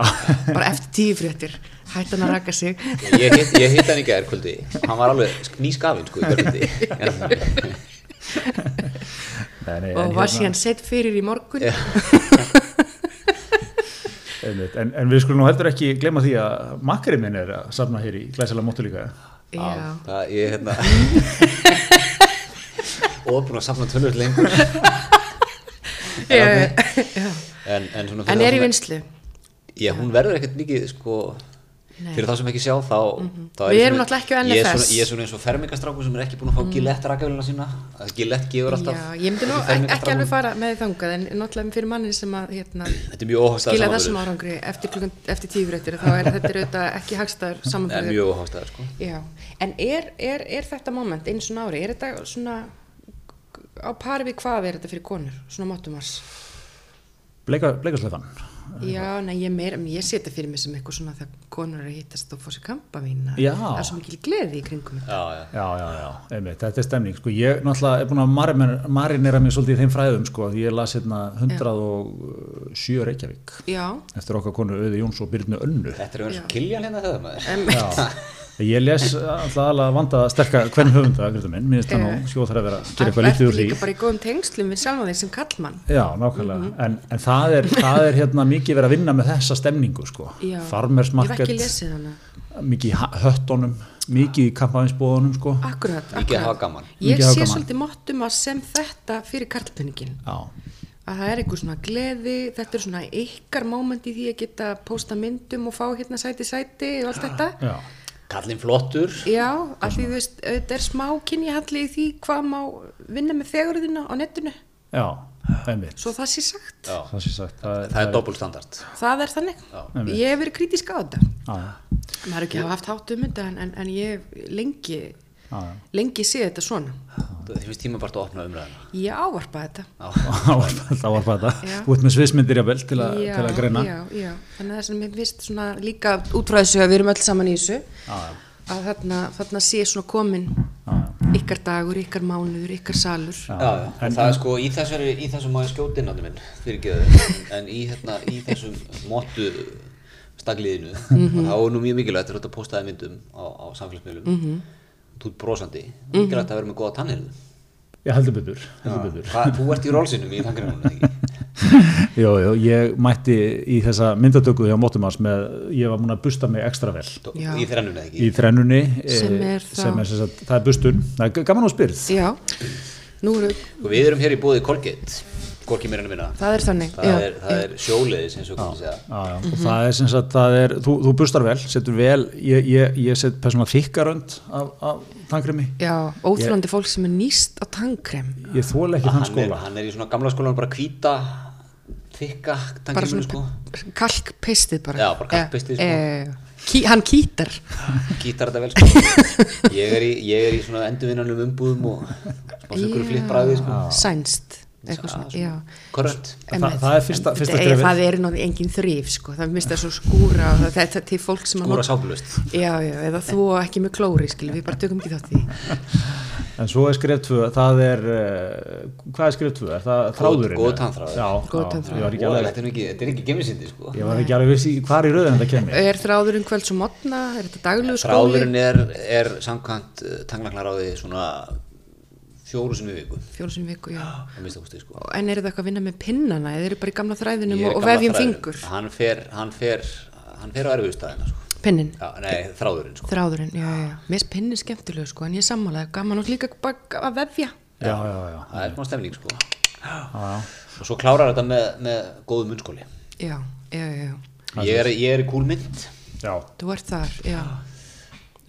Speaker 1: Já.
Speaker 2: *laughs* bara eftir tíu fréttir hættan að raka sig
Speaker 3: ég hitt hit hann í gærkvöldi hann var alveg sk- nýskafinn sko í
Speaker 2: *laughs*
Speaker 3: gærkvöldi En-
Speaker 1: Nei, nei, en hérna,
Speaker 2: og var síðan sett fyrir í morgun
Speaker 1: Einmitt, en, en við skulum nú heldur ekki glema því að makkari minn er að safna hér í glæsilega móttu líka.
Speaker 2: já,
Speaker 3: það ég
Speaker 2: *laughs*
Speaker 3: hérna og búin að safna tölvöld lengur
Speaker 2: já, já.
Speaker 3: en, en, svona fyrir
Speaker 2: en er
Speaker 3: þá
Speaker 2: í
Speaker 3: sem-
Speaker 2: vinslu
Speaker 3: Já, hún verður ekkert mikið, sko,
Speaker 2: Nei. Mhm.
Speaker 3: fyrir þá sem ekki sjá þá, þá
Speaker 2: Við
Speaker 3: ég
Speaker 2: erum
Speaker 3: svona-
Speaker 2: náttúrulega ekki á
Speaker 3: Ég er
Speaker 2: NFS.
Speaker 3: svona, ég er svona eins og fermingastráku sem er ekki búin að fá Gillette rakavélina sína, að Gillette gefur alltaf.
Speaker 2: Mhm. já, ég myndi nú
Speaker 3: Þetta
Speaker 2: ek-
Speaker 3: er
Speaker 2: ekki
Speaker 3: fermingarstrákum.
Speaker 2: alveg fara með þið þangað en náttúrulega fyrir manni sem að hérna,
Speaker 3: Þetta er mjög óhagstæður
Speaker 2: skila þessum árangri eftir, klukkan, eftir tíu fréttir þá er þetta er auðvitað ekki hagstæður
Speaker 3: Það er
Speaker 2: samanbyrður
Speaker 3: mjög óhagstæður, sko.
Speaker 2: Já, en er, er, er þetta moment eins og nári, er þetta svona á pari við hvað er þetta fyrir konur, svona mótumars?
Speaker 1: Bleika, bleikaslefan,
Speaker 2: Já, nei, ég, meira, ég setja fyrir mig sem eitthvað svona þegar konur er að hittast og fá sér kampa vína.
Speaker 1: Já.
Speaker 2: Það er svo mikil gleði í kringum þetta.
Speaker 3: Já, já.
Speaker 1: Já, já, já, einmitt, þetta er stemning sko, ég náttúrulega er búin að marinera, marinera mér svolítið í þeim fræðum sko, því ég las hérna 107 Reykjavík
Speaker 2: Já,
Speaker 1: eftir okkar konu Auði Jóns og Byrnu Önnu
Speaker 3: Þetta er eins og Kiljan hérna þegar maður.
Speaker 2: emmi.
Speaker 1: Já, ég les alltaf alveg vanda að sterkja hvern höfunda, grita minn, minnst hann og skjóð þar að vera að gera eitthvað lítið úr því
Speaker 2: líka bara Mhm. í góðum tengslum við sjálfa þeir sem kallmann.
Speaker 1: Já, nákvæmlega, en, en það, er, það er hérna mikið verið að vinna með þessa stemningu sko,
Speaker 2: Já.
Speaker 1: farmers
Speaker 2: Ég hef ekki
Speaker 1: market,
Speaker 2: lesið hana.
Speaker 1: mikið í ha- höttunum, mikið í kampavinsbóðunum sko,
Speaker 2: Akkurat, akkurat.
Speaker 3: Mikið að hafa gaman.
Speaker 2: Ég
Speaker 1: Mikið að hafa
Speaker 2: sé
Speaker 1: gaman.
Speaker 2: svolítið mottum að sem þetta fyrir karlpenningin.
Speaker 1: já,
Speaker 2: Að það er eitthvað svona gleði, þetta er svona ykkar moment í því að geta pósta myndum og fá hérna sæti sæti og allt þetta.
Speaker 1: já,
Speaker 3: Kallinn
Speaker 2: *laughs*
Speaker 3: flottur.
Speaker 2: Já, af því þú veist, auðvitað er smá kynjahalli í því hvað má vinna með fegurðina á netinu,
Speaker 1: já, einmitt.
Speaker 2: svo það sé sagt.
Speaker 3: Já.
Speaker 1: það sé sagt það,
Speaker 3: Það er doppelstandard.
Speaker 2: Það er þannig.
Speaker 3: Já.
Speaker 2: Ég hef verið krítisk á þetta.
Speaker 1: já,
Speaker 2: Maður er ekki að hafa haft hátt um þetta en, en, en ég hef
Speaker 1: já,
Speaker 2: lengi,
Speaker 1: já.
Speaker 2: lengi séð þetta svona.
Speaker 3: Þið finnst tíma bara að opna umræðina.
Speaker 2: Ég ávarpa þetta.
Speaker 1: *laughs*
Speaker 3: Já.
Speaker 1: Það var bara- það var bara
Speaker 2: Já.
Speaker 1: það út með sviðsmyndir jafnvel til, að-
Speaker 2: Já,
Speaker 1: til að greina
Speaker 2: já, já. þannig að það sem ég vist svona líka út frá þessu að við erum öll saman í þessu
Speaker 1: Já, já.
Speaker 2: að þarna, þarna sé svona komin ykkar dagur, ykkar mánuður, ykkar salur já,
Speaker 3: Já, já. En það er sko í þessari, í þessum maður skjótinn áttu minn, fyrirgeðu, en í, hérna, í þessum móttu stagliðinu, þá er nú mjög mikilvægt að þetta postaði myndum á, á samfélagsmiðlum, þú ert brosandi, mikilvægt að vera með góða tannhirðu.
Speaker 1: ég heldur betur, heldur betur.
Speaker 3: Það- Þú ert í rólsinum í tanngrænum, ekki?
Speaker 1: Jó, jó, ég mætti í þessa myndatöku hjá Mótumars með, ég var múin að busta mig ekstra vel
Speaker 2: Já.
Speaker 3: Í þrennunni, ekki?
Speaker 1: í þrennunni eh,
Speaker 2: Sem er þá-
Speaker 1: sem er, sem sagt, það er bustun, það er g- gaman og spyrð
Speaker 2: nú eru,
Speaker 3: Og Við erum hér í bóði Colgate, Gorki meira en minna.
Speaker 2: það er þannig
Speaker 3: Það,
Speaker 2: já,
Speaker 3: er, það er sjóleiðis eins og komið segja.
Speaker 1: Já, já, og
Speaker 2: Mhm.
Speaker 1: það er sem sagt, það er, þú, þú bustar vel, setur vel, ég, ég, ég set persónulega þykkarönd af, af tangremi,
Speaker 2: já, óþlandi fólk sem er nýst á tannkrem
Speaker 1: ég þóla ekki þann
Speaker 3: Ah, Hann er,
Speaker 1: skóla.
Speaker 3: hann er í svona gamla skólanum bara hvíta, þykka
Speaker 2: bara svona
Speaker 3: tanngrænum, sko.
Speaker 2: pe- kalkpistið bara
Speaker 3: Já, bara kalkpistið, sko.
Speaker 2: Eh, eh, ký, hann kýtar
Speaker 3: gítar þetta vel
Speaker 2: *laughs*
Speaker 3: sko. ég, er í, ég er í svona endurvinnanum umbúðum og smá sökur
Speaker 2: Já.
Speaker 3: flippræði sko.
Speaker 2: sænst eitthvað svona, já
Speaker 3: korrekt
Speaker 1: Það- það er fyrsta-
Speaker 2: En-
Speaker 1: fyrsta
Speaker 2: en-
Speaker 1: skrefið.
Speaker 2: Það er náttúrulega engin þrýf sko, það minnst það svo skúra og það- þetta til fólk sem að
Speaker 3: skóra
Speaker 2: nota-
Speaker 3: sápulust
Speaker 2: Já, já, eða þú ekki með klóri, skilum, við bara tökum ekki þátt í því.
Speaker 1: En svo er skref 2, það er, uh, hvað er skref 2? Er það þráðurinn?
Speaker 3: góð tannþráður.
Speaker 1: Já,
Speaker 2: Góð
Speaker 1: já,
Speaker 2: tannþráður.
Speaker 1: Ég var ekki alveg,
Speaker 3: þetta er nú ekki, þetta er ekki gemisindi sko.
Speaker 1: ég var ekki alveg vissi hvað í rauðin þetta kemur.
Speaker 2: Er þráðurinn kvölds og modna, er þetta daglegu skóli?
Speaker 3: þráðurinn er, er samkvæmt tanglagnaráði svona fjóru sinni í viku
Speaker 2: Fjólsum viku, já.
Speaker 3: að minnsta kosti, sko.
Speaker 2: En eru það eitthvað að vinna með pinnana, eða eru bara í gamla þræðinum
Speaker 3: Ég er
Speaker 2: og, og
Speaker 3: gamla
Speaker 2: vefjum
Speaker 3: þræðurinn.
Speaker 2: fingur?
Speaker 3: hann fer, hann fer, hann fer á erfiðustæðina sko.
Speaker 2: Pinnin,
Speaker 3: Já, nei, þráðurinn sko.
Speaker 2: þráðurinn, já, já, já. Mér er pinnin skemmtilegu, sko, en ég er sammála, gaman og líka bara að vefja.
Speaker 1: Já, já, já.
Speaker 3: það er smá stemning sko.
Speaker 1: já, já.
Speaker 3: og svo klárar þetta með, með góðu munnskóli
Speaker 2: Já, já, já, já.
Speaker 3: ég er, ég er í kúlmynd
Speaker 1: Já,
Speaker 2: Þú ert þar, já.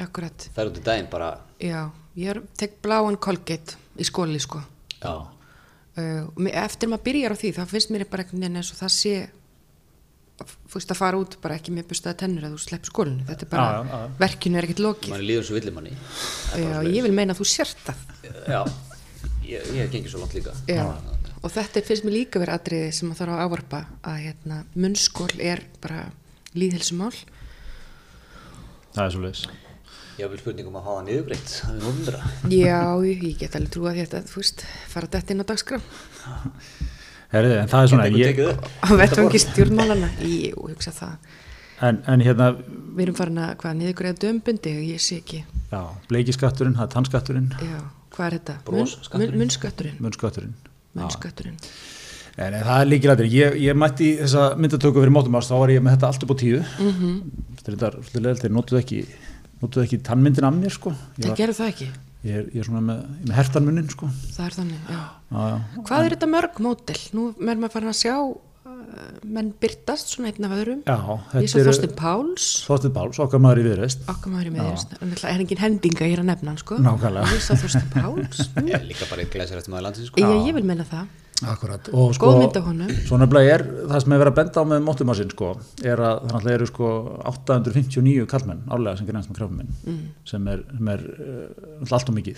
Speaker 2: Akkurat.
Speaker 3: það er út í daginn bara
Speaker 2: Já, ég er, tek bláan kolgett í skóli sko.
Speaker 3: já,
Speaker 2: Uh, me- eftir maður byrjar á því þá finnst mér bara einhvern veginn eins og það sé fyrst að fara út bara ekki með bustaða tennur að þú slepp skólinu. Þetta er bara,
Speaker 1: Já, já, já.
Speaker 2: verkinu er ekkert lokið.
Speaker 3: mann líður svo villimanni
Speaker 2: Já, ég vil meina að þú sért það.
Speaker 3: Já, ég, ég hef gengið svo langt líka
Speaker 2: Já. Og þetta er- finnst mér líka verið atriði sem maður þarf að ávarpa að hérna, munnskól er bara líðhelsumál.
Speaker 1: það er svo leiðis.
Speaker 3: Ég vil spurningum um að hafa það niðurgreitt Það er hundra
Speaker 2: Já, ég get alveg trúa því að þetta, þú veist, fara þetta inn á dagskrá
Speaker 1: Herriði, en það er svona, ég,
Speaker 2: á vettvangi stjórnmálana. Ég hugsa það.
Speaker 1: en, en hérna,
Speaker 2: Við erum farin að, hvað, niðurgræða dömbundi, ég sé ekki.
Speaker 1: já, bleikiskatturinn, það er tannskatturinn,
Speaker 2: Já, hvað er þetta?
Speaker 3: Brosskatturinn.
Speaker 2: Mun- mun- Munnskatturinn.
Speaker 1: munnskatturinn.
Speaker 2: Munnskatturinn.
Speaker 1: En en það er líkilættir, ég, ég mætti í þessa myndatöku fyrir mótumars, þá var ég með þetta allt upp á tíu. Mm
Speaker 2: Mhm.
Speaker 1: -hmm. Þetta er svolítið leðilt, þeir notuðu ekki, notuðu ekki tannmyndin af mér, sko. Ég,
Speaker 2: Það
Speaker 1: var,
Speaker 2: gerur það ekki.
Speaker 1: ég, er, ég er svona með, ég er með hertanmunnin, sko.
Speaker 2: Það er þannig, já.
Speaker 1: Já, já.
Speaker 2: Hvað er þetta mörg mótel? Nú er maður farin að sjá uh, menn byrtast svona einn af öðrum.
Speaker 1: Já,
Speaker 2: Ég svo
Speaker 1: eru-
Speaker 2: Þorstin Páls,
Speaker 1: Þorsteinn Páls, okkar maður í viðreist
Speaker 2: okkar maður í miðurist. Það er engin hendinga hér að nefna hann, sko.
Speaker 1: Nákvæmlega.
Speaker 2: Ég svo Þorstin Páls.
Speaker 3: Ég er líka bara eitt glæsir eftir maður landsins sko.
Speaker 2: Ég, ég vil menna það.
Speaker 1: Akkurat og sko,
Speaker 2: Góð mynd af honum.
Speaker 1: Svo nefnilega er það sem er verið að benda á með móttumarsinn sko, er að það náttúrulega eru sko 859 kallmenn eh, árlega sem grænst með krafuminn mm. sem er, sem er uh, náttúrulega allt og mikið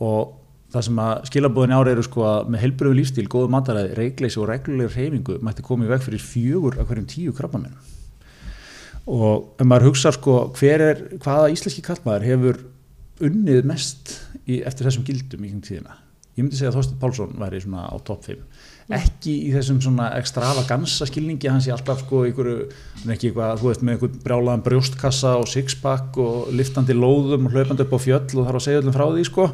Speaker 1: og það sem að skilabóðin ári eru sko að með heilbröðu lífstíl, góðu mataræði, reikleysi og reglulegur hreyfingu mætti komið veg fyrir fjögur af hverjum tíu krabbamennum og ef maður hugsa sko hver er, hvaða íslenski kallmaður hefur unnið mest í, eftir þessum gildum í kring tíðina ég myndi segja að Þorstein Pálsson væri svona á topp 5 ekki í þessum svona extravagansa skilningi hans í alltaf sko ykkur, hann er ekki eitthvað, þú veist með einhvern brjálaðan brjóstkassa og sixpack og liftandi lóðum og hlaupandi upp á fjöll og þarf að segja öllum frá því sko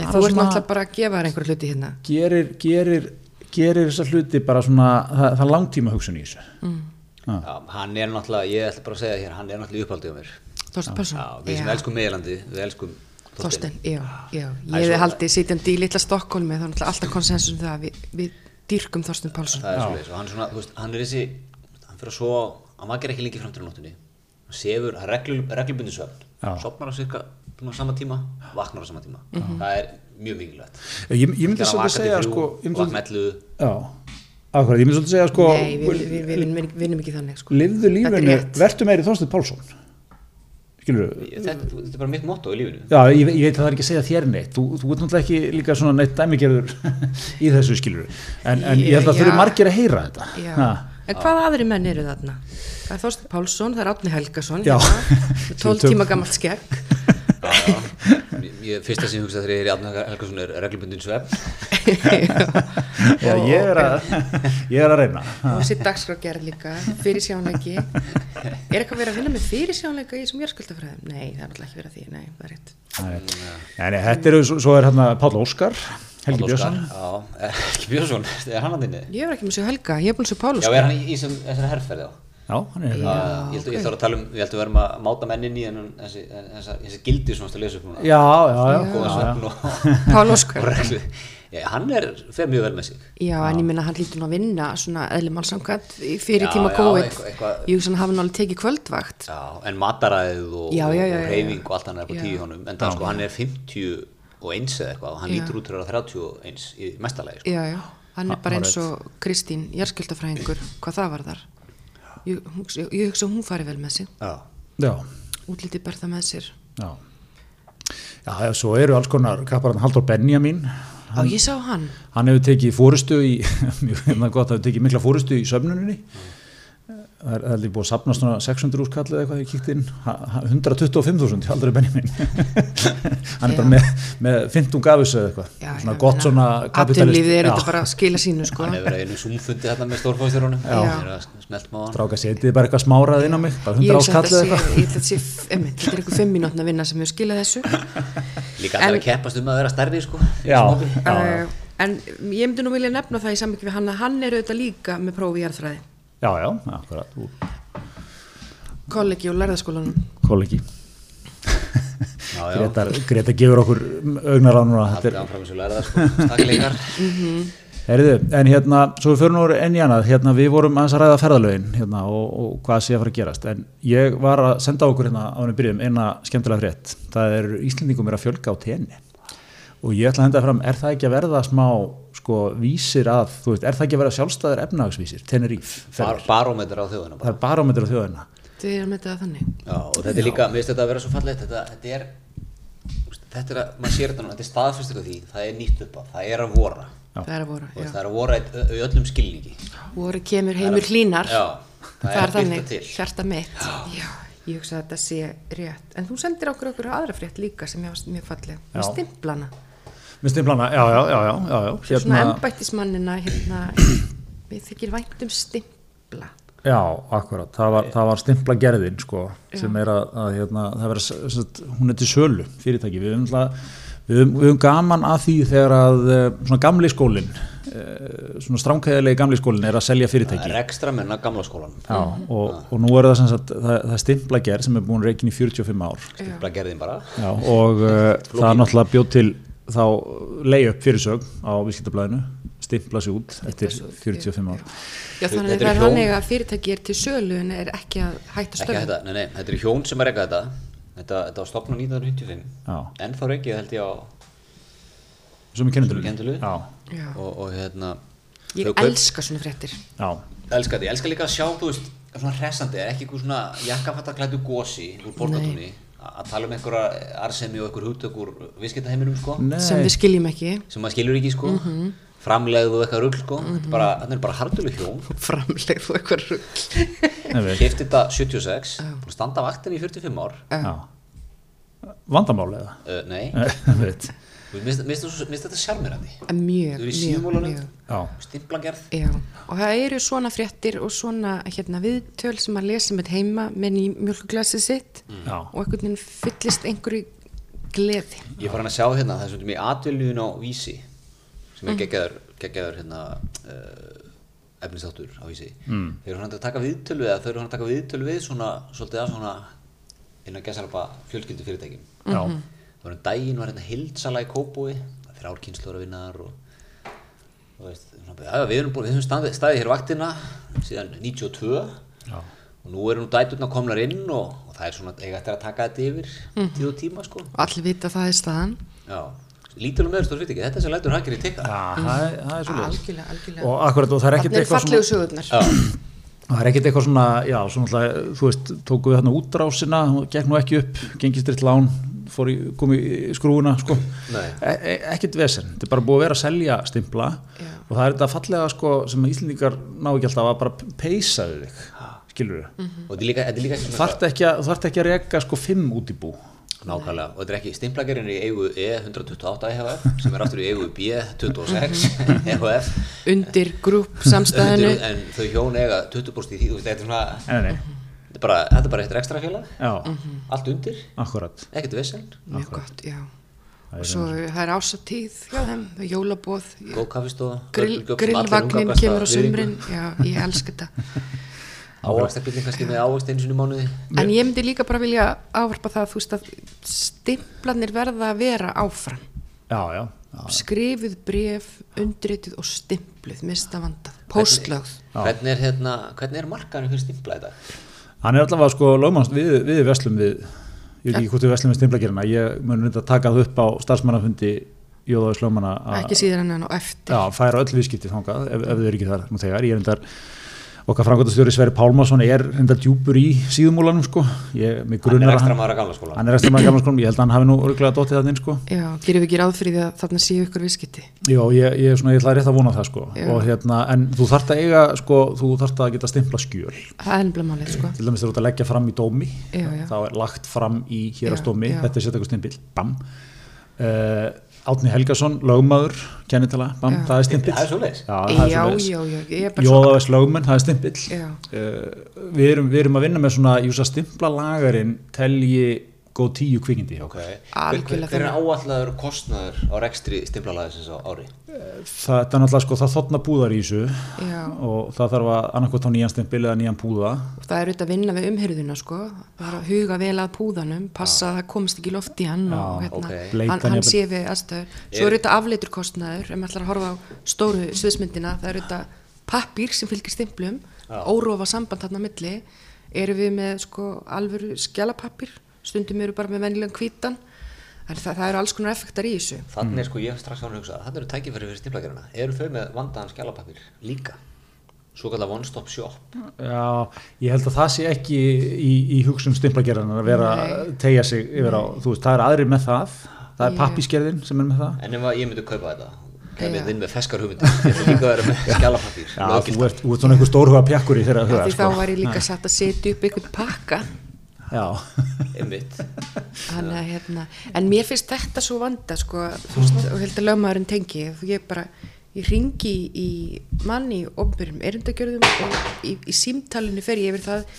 Speaker 1: Hann
Speaker 2: þú
Speaker 1: er
Speaker 2: ert
Speaker 1: svona-
Speaker 2: náttúrulega bara að gefa þér einhver hluti hérna
Speaker 1: gerir, gerir, gerir þessar hluti bara svona, það, það er langtíma hugsun í þessu
Speaker 3: Já, hann er náttúrulega, ég ætla bara að segja hér, hann er náttúrulega uppáldið á mér.
Speaker 2: Þorsten Pálsson
Speaker 3: Já, við sem elskum meðlandi, við elskum Þorstein.
Speaker 2: Þorsten, já, já
Speaker 3: Það er
Speaker 2: Ég
Speaker 3: Ah. svo-
Speaker 2: hef haldið sitjandi í litla Stokkólmi þá er náttúrulega alltaf konsensus um það að við, við dýrkum Þorsten Pálsson
Speaker 3: Það er svolítið, og hann, er svona, þú veist, hann er þessi, hann fyrir að svo, hann vakir ekki lengi fram til nóttunni, hann sefur, hann reglur, reglubundu svefn,
Speaker 1: Já.
Speaker 3: sopnar á cirka svona sama tíma, vaknar á sama tíma, það er mjög mikilvægt.
Speaker 1: ég, ég myndi
Speaker 3: Þegar hann
Speaker 1: svolítið
Speaker 3: vakar til
Speaker 1: segja
Speaker 3: þrjú,
Speaker 1: sko, ég myndi
Speaker 3: vakna
Speaker 1: svolítið-
Speaker 3: ellu,
Speaker 1: já, akkurat, ég myndi svolítið segja sko,
Speaker 2: Nei, við, við, við, við, við vinnum ekki þannig sko.
Speaker 1: lifðu
Speaker 2: Þetta er
Speaker 1: lífinu,
Speaker 2: rétt.
Speaker 1: vertu meiri Þorstein Pálsson skilur þú
Speaker 3: þetta, þetta er bara mitt motto í lífinu.
Speaker 1: Já, ég, ég veit að það er ekki að segja þér neitt, þú, þú ert náttúrulega ekki líka svona neitt dæmigerður *laughs* í þessu skilur en, en ég held að
Speaker 2: Já.
Speaker 1: þurfi margir að heyra þetta
Speaker 2: Já.
Speaker 1: Ha.
Speaker 2: En hvaða aðri menn eru þarna? Það er Þorsten Pálsson, það er Átni Helgason
Speaker 1: Já. *laughs*
Speaker 2: hérna, 12
Speaker 1: Tökum-
Speaker 2: tíma gamalt skegg
Speaker 3: Já, já. Ég- Ég, fyrsta sem ég hugsa þegar ég er í Adnar Helgason er reglubundin svefn,
Speaker 1: Já, ég er að, *laughs* ég er að reyna Ha.
Speaker 2: og sitt dagskrágerð líka, fyrirsjánleiki Er eitthvað verið að vinna með fyrirsjánleika í þessum jörgskuldafræðum? Nei, það er náttúrulega ekki verið að því, nei, það er rétt
Speaker 1: Nei, nei, þetta eru, svo- svo er hérna Páll Óskar, Helgi
Speaker 3: Páll Óskar.
Speaker 1: Björnsson
Speaker 3: Já, ekki Björnsson, *laughs* er hann að þinni?
Speaker 2: Ég er ekki með svo Helga, ég er búin svo
Speaker 3: Já,
Speaker 2: Pálus
Speaker 3: er hann í, í sem, þessari herrferði á?
Speaker 1: Já, hann er hérna
Speaker 3: Já, ég held- ég þarf að tala um, ég held að við erum að máta mennin í þennan- þessi, þessi, þessi gildi sem þú varst að lesa upp
Speaker 1: Já,
Speaker 3: núna
Speaker 1: já, já,
Speaker 3: góða
Speaker 1: já, já.
Speaker 3: svefn og, *laughs*
Speaker 2: Pálus
Speaker 3: og reglu Já, hann er, fer mjög vel með sig
Speaker 2: Já, en ég minna hann hlýtur nú að vinna svona eðli málsamkvæmt í- fyrir
Speaker 3: Já,
Speaker 2: tíma
Speaker 3: já,
Speaker 2: COVID
Speaker 3: eitthvað- eitthvað-
Speaker 2: Jú, svona hafa hann alveg tekið kvöldvakt
Speaker 3: Já, en mataræðið og,
Speaker 2: Já, já, já,
Speaker 3: og
Speaker 2: já,
Speaker 3: reyfing
Speaker 2: já.
Speaker 3: og allt hann er upp á
Speaker 2: Já.
Speaker 3: tíu honum en það sko, hann er 50 og eins eða eitthvað og hann
Speaker 2: Já.
Speaker 3: lítur út fyrir að vera 31 í mestalagi sko.
Speaker 2: Já, já, hann er bara eins og Kristín, jörgskuldafræðingur, hvað það var þar Ég, hugsa- ég, ég hugsa að hún fari vel með sig
Speaker 3: Já,
Speaker 1: Já,
Speaker 2: útlitið ber það með sér
Speaker 1: já Já, já, svo eru alls konar kapparðan Haldur Benjamin
Speaker 2: Á, ég sá hann
Speaker 1: hann hefur tekið fórustu í *laughs* mjög hérna gott, hann hefur tekið mikla fórustu í sömnuninni það er það er líka búið að sapna svona 600 úrskall eða eitthvað ég kíkt inn Ha- ha- 125.000 hjá aldrei Benjamin *laughs* hann er bara
Speaker 2: Já.
Speaker 1: með, með 15 gafis eða eitthvað
Speaker 2: Já,
Speaker 1: svona
Speaker 2: ég
Speaker 1: gott
Speaker 2: meina,
Speaker 1: svona kapitalist
Speaker 2: atvinnulífið er
Speaker 1: Já.
Speaker 2: þetta bara að skila sínu sko
Speaker 3: hann hefur verið einu sumfundi þarna með stórfóðstjórn honum
Speaker 2: Já.
Speaker 3: Hann er að smelt má hann
Speaker 1: stráka setið bara eitthvað smárað inn á mig bara 100
Speaker 2: Ég hugsa að
Speaker 1: áskall eða
Speaker 2: þetta
Speaker 1: eitthvað
Speaker 2: sé- ég held að þetta sé, einmitt, þetta er eitthvað fimm mínútna vinna sem hefur skilað þessu
Speaker 3: Líka allir
Speaker 2: En-
Speaker 3: að keppast um að vera stærri sko, í
Speaker 1: Já.
Speaker 3: þessum hópi.
Speaker 1: já.
Speaker 2: uh, En ég myndi nú vilja nefna það í samvikið við hann að hann er auðvitað líka með prófi í jarðfræði
Speaker 1: já, já, akkurat, þú
Speaker 2: kollegi og lærðaskólanum
Speaker 1: kollegi
Speaker 3: Já, já.
Speaker 1: Greta, Greta gefur okkur augnar á núna þetta er
Speaker 3: Haldið áfram eins og lærða sko, stakleikar
Speaker 1: Herðu, en hérna, svo við förum úr enn í annað, hérna við vorum aðeins að ræða ferðalögin hérna og, og hvað sé að fara að gerast en ég var að senda á okkur hérna á henni byrjum eina skemmtilega frétt, það er Íslendingum er að fjölga á tenni og ég ætla að henda fram, er það ekki að verða smá sko vísir að, þú veist, er það ekki að verða sjálfstæðir efnahagsvísir, Tenerife
Speaker 3: Bar,
Speaker 1: ferðir?
Speaker 3: barómetra á þjóðina bara.
Speaker 1: það er barómetur á þjóðina
Speaker 2: Þið erum með þetta þannig
Speaker 3: Já, og þetta er líka, mér finnst þetta að vera svo fallegt þetta, þetta er, þetta er að, maður sér þetta núna, þetta er staðfestur af því það er nýtt upp á, það er að vora
Speaker 1: Já.
Speaker 2: Það er að voru,
Speaker 3: Og
Speaker 2: já
Speaker 3: það er að vora í- í öllum skilningi
Speaker 2: voru kemur heimur hlínar
Speaker 3: Já, það
Speaker 2: það
Speaker 3: er
Speaker 2: er
Speaker 3: að
Speaker 2: þannig,
Speaker 3: birta til.
Speaker 2: hjarta mitt já, ég hugsa að þetta sé rétt en þú sendir okkur okkur aðra frétt líka sem ég varst mjög falleg, með
Speaker 1: Já.
Speaker 2: stimplana
Speaker 1: minnst þeim plana, já, já, já, já, já, já.
Speaker 2: svona embættismannina hérna, við þykir væntum stimpla
Speaker 1: Já, akkurat, það var, það var stimpla gerðin sko, sem er að, að hérna, það vera, s- s- hún er til sölu fyrirtæki, við höfum, náttúrulega- við höfum, við höfum gaman að því þegar að eh, svona gamli skólin eh, svona stránkæðilegi gamli skólin er að selja fyrirtæki
Speaker 3: Rekstra menn af gamla skólanum
Speaker 1: Já, og, og nú er það sem sagt, það, það er stimpla gerð sem er búin reikin í 45 ár
Speaker 3: Stimpla gerðin bara
Speaker 1: Já, og uh, það er náttúrulega bjóð til þá leið upp fyrirsög á viðskiptablaðinu, stimpla sig út eftir 45 ár
Speaker 2: já, þannig að
Speaker 3: Þetta er
Speaker 2: það er
Speaker 3: hjón.
Speaker 2: þannig að fyrirtæki er til sölu en er ekki að hætta
Speaker 3: Ekki
Speaker 2: störfum
Speaker 3: þetta, nei, nei, þetta er hjón sem er eitthvað þetta Þetta, þetta var stopnað 1995
Speaker 1: Já.
Speaker 3: En þá reikið held ég á
Speaker 1: sem er kennendulu
Speaker 3: Kenndulu.
Speaker 1: Já,
Speaker 2: Já.
Speaker 3: og, og hérna
Speaker 2: ég
Speaker 3: þau kaup-
Speaker 2: elska svona fréttir
Speaker 1: já
Speaker 3: Elskar því, elskar líka að sjá, þú veist, svona hressandi, ekki eitthvað svona jakkafattaklætu gósi úr borgatúni að tala um einhverja arsemi og einhver hugtök úr viðskiptaheiminum sko,
Speaker 2: sem við skiljum ekki
Speaker 3: sem maður skilur ekki sko,
Speaker 2: Mhm.
Speaker 3: framlegð og eitthvað rugl sko, þetta er bara, þetta er bara hardölu hjón,
Speaker 2: framlegð og eitthvað
Speaker 3: *laughs*
Speaker 2: rugl
Speaker 1: Nei,
Speaker 3: kefti þetta 76, búin að standa vaktin í 45 ár,
Speaker 1: já. vandamál eða *laughs*
Speaker 3: uh, nei,
Speaker 1: Ég veit.
Speaker 3: mér finnst þetta sjarmirandi,
Speaker 2: En mjög,
Speaker 3: þau eru í
Speaker 2: mjög,
Speaker 3: síðmólanum,
Speaker 2: mjög
Speaker 1: já,
Speaker 3: stimplagerð,
Speaker 2: Já, og það eru svona fréttir og svona hérna, viðtöl sem að lesa með heima menn í mjölkuglasið sitt
Speaker 1: já,
Speaker 2: og einhvern veginn fyllist einhverju gleði
Speaker 3: Ég fór hann að sjá hérna það sem er í atviljun á Vísi sem
Speaker 1: Mm.
Speaker 3: er geggjaður, geggjaður hérna uh, efnisáttur á Vísi mm. þeir eru hann að taka viðtölu eða þau eru hann að taka viðtölu við svona, svolítið að svona innan gæsalapa fjölskyldu fyrirtækjum
Speaker 1: já,
Speaker 3: það var um daginn var hérna hildsala í Kóbúi þrjárkynnslóra vinnar og og veist, svona, já, já, við erum búin, við höfum staðið, staðið hér vaktina síðan 92
Speaker 1: já.
Speaker 3: og nú eru nú dæturna komnar inn og, og það er svona, eiga eftir að taka þetta yfir
Speaker 1: Mm.
Speaker 3: tíð og tíma sko
Speaker 2: og allir vita að það er staðan
Speaker 3: Já, lítil og meðurstór fyrirtæki, þetta er sem lætur hakir í tikka.
Speaker 1: Já, það er, það er svolítið
Speaker 2: algjörlega, Mm. algjörlega
Speaker 1: og akkurat og það er ekkert
Speaker 2: Þannig er
Speaker 1: eitthvað
Speaker 2: fallegu
Speaker 1: svona,
Speaker 2: sögurnar
Speaker 1: það er ekkert eitthvað svona já, svona alltaf, þú veist, tóku við þarna útrásina hún gekk nú ekki upp, gengist rétt lán fór í, kom í skrúuna sko.
Speaker 3: Nei.
Speaker 1: e e ekkert vesen þetta er bara búið að vera að selja stimpla
Speaker 2: Já.
Speaker 1: og það er þetta fallega sko, sem Íslendingar ná ekki alltaf að bara peysa við þig skilur við,
Speaker 2: Mhm.
Speaker 3: Og þetta er líka, þetta er líka ekki
Speaker 1: þú
Speaker 3: svona,
Speaker 1: þarft ekki, að- þú þarft ekki að reka sko fimm út í bú
Speaker 3: nákvæmlega, og þetta er ekki stimplagerinn í eigu E E128 EHF, sem er aftur í eigu
Speaker 1: *laughs*
Speaker 3: B26 EHF,
Speaker 2: undir grúp samstæðinu
Speaker 3: en þau hjón eiga 20% í því, þú veist, þetta er svona,
Speaker 1: en
Speaker 2: Mhm.
Speaker 1: nei,
Speaker 3: þetta er bara, þetta er bara eitt ekstra félag,
Speaker 1: já,
Speaker 3: allt undir,
Speaker 1: akkurat
Speaker 3: ekkert vesen,
Speaker 2: mjög gott, já og svo það er ásatíð hjá þeim, jólabóð
Speaker 3: góð kaffistofa,
Speaker 2: grill,
Speaker 3: vörlugjöf sem allir
Speaker 2: grillvagnin
Speaker 3: umgangast
Speaker 2: kemur á
Speaker 3: af virðingu.
Speaker 2: sumrin já, ég elska þetta
Speaker 3: Ávaxtabíllinn kannski með ávaxt einu sinni í mánuði,
Speaker 2: En ég myndi líka bara vilja ávarpa það þú veist að stimplanir verða að vera áfram.
Speaker 1: já, já, já,
Speaker 2: Skrifuð bref, undrituð og stimpluð, mista vandað, postlögð.
Speaker 3: hvernig er hérna, hvernig er markaðinu fyrir stimpla í dag?
Speaker 1: Hann er allavega sko lögmanns, við, við veslum við, ég veit ekki hvort við veslum við stimplegjurina, ég mun reynda að taka það upp á starfsmannafundi Jóðaðis lögmanna að
Speaker 2: Ekki síðan en á eftir.
Speaker 1: Ah. já, færa öll viðskipti þangað ef, ef þau eru ekki þar nú þegar. Ég reyndar, okkar framkvæmtastjóri Sverri Pálmarsson er reyndar djúpur í síðumúlanum sko, ég, mig
Speaker 3: Hann er
Speaker 1: grunar
Speaker 3: ekstra maður að gamla skóla.
Speaker 1: hann er ekstra maður gamla skólum, ég held að hann hafi nú örgulega dottið þannig sko.
Speaker 2: Já, gerum við ekki ráð fyrir því að þarna séu ykkur viðskipti.
Speaker 1: Já, ég, ég, er svona, ég ætla rétt að vona það sko.
Speaker 2: Já.
Speaker 1: og, hérna, en þú þarft að eiga sko, þú þarft að geta stimpla skjöl
Speaker 2: Það er ennbla málið, sko.
Speaker 1: til dæmis þegar þú ert að leggja fram í dómi
Speaker 2: Já, já.
Speaker 1: þá er lagt fram í hérastómi
Speaker 2: Já, já.
Speaker 1: þetta er setja eitthvað stimpil, bam uh, Átni Helgason, lögmaður kennitala, bam, það er stimpil
Speaker 3: Það er svoleiðis.
Speaker 1: Já, það
Speaker 2: Já,
Speaker 1: er
Speaker 2: já,
Speaker 1: svoleiðis.
Speaker 2: já, ég er bara svo...
Speaker 1: Jóðavæs lögmenn, það er stimpill
Speaker 2: Já.
Speaker 1: uh, við, erum, við erum að vinna með svona júsa stimpla lagarinn telji góð tíu kvikindi hjá
Speaker 3: Ok,
Speaker 1: okkur
Speaker 3: hver, hver,
Speaker 2: Algjörlega
Speaker 3: hver er áallagur kostnaður á rekstri stimplalaðisins á ári?
Speaker 1: það, það er náttúrulega sko, það þotna búðar í þessu
Speaker 2: Já,
Speaker 1: og það þarf að annarkot á nýjan stimpil eða nýjan búða
Speaker 2: og það er auðvitað að vinna við umhyrðuna, sko. Það er að huga vel að púðanum, passa að það komist ekki loft í hann og
Speaker 1: Já,
Speaker 2: hérna,
Speaker 3: ok.
Speaker 1: Bleytan
Speaker 2: hann, hann
Speaker 1: jafnvel.
Speaker 2: sé við aðstöður. Svo er auðvitað afleitur kostnaður, ef maður ætlar að horfa á stóru sviðsmyndina, það er auðvitað pappír sem fylgir stimplum, órófa samband þarna á milli, erum við með sko alvöru skjalapappír, stundum eru bara með vennilegan hvítan, en það, það eru alls konar effektar í þessu.
Speaker 3: Þannig er sko ég strax án að hugsa, þannig eru tækifæri fyrir stimplagerina. Eru þau með vandaðan skjálapapir líka? Svo kallar one stop shop.
Speaker 1: Já, ég held að það sé ekki í, í hugsun stimplagerðan að vera að tegja sig yfir á, þú veist, það er aðri með það það er
Speaker 2: Ég-
Speaker 1: pappískerðin sem er með það
Speaker 3: En ef að ég myndi kaupa þetta, kemur
Speaker 2: Já.
Speaker 3: þinn með feskar hugmyndir, ég ætla líka að vera með skjálapapir.
Speaker 1: Já, þú ert, þú ert svona einhver stórhuga pjakkur í þeirra
Speaker 2: Af
Speaker 1: huga, sko.
Speaker 2: Því þá var ég líka satt að setja upp einhvern pakka
Speaker 1: Já, *laughs*
Speaker 3: Einmitt.
Speaker 2: Þannig að hérna, en mér finnst þetta svo vanda sko, þú veist, og held að lögmaðurinn tengi, þú ég bara, ég ringi í manni í ofnbyrjum erindagjörðum og í, í símtalinu fer ég yfir það,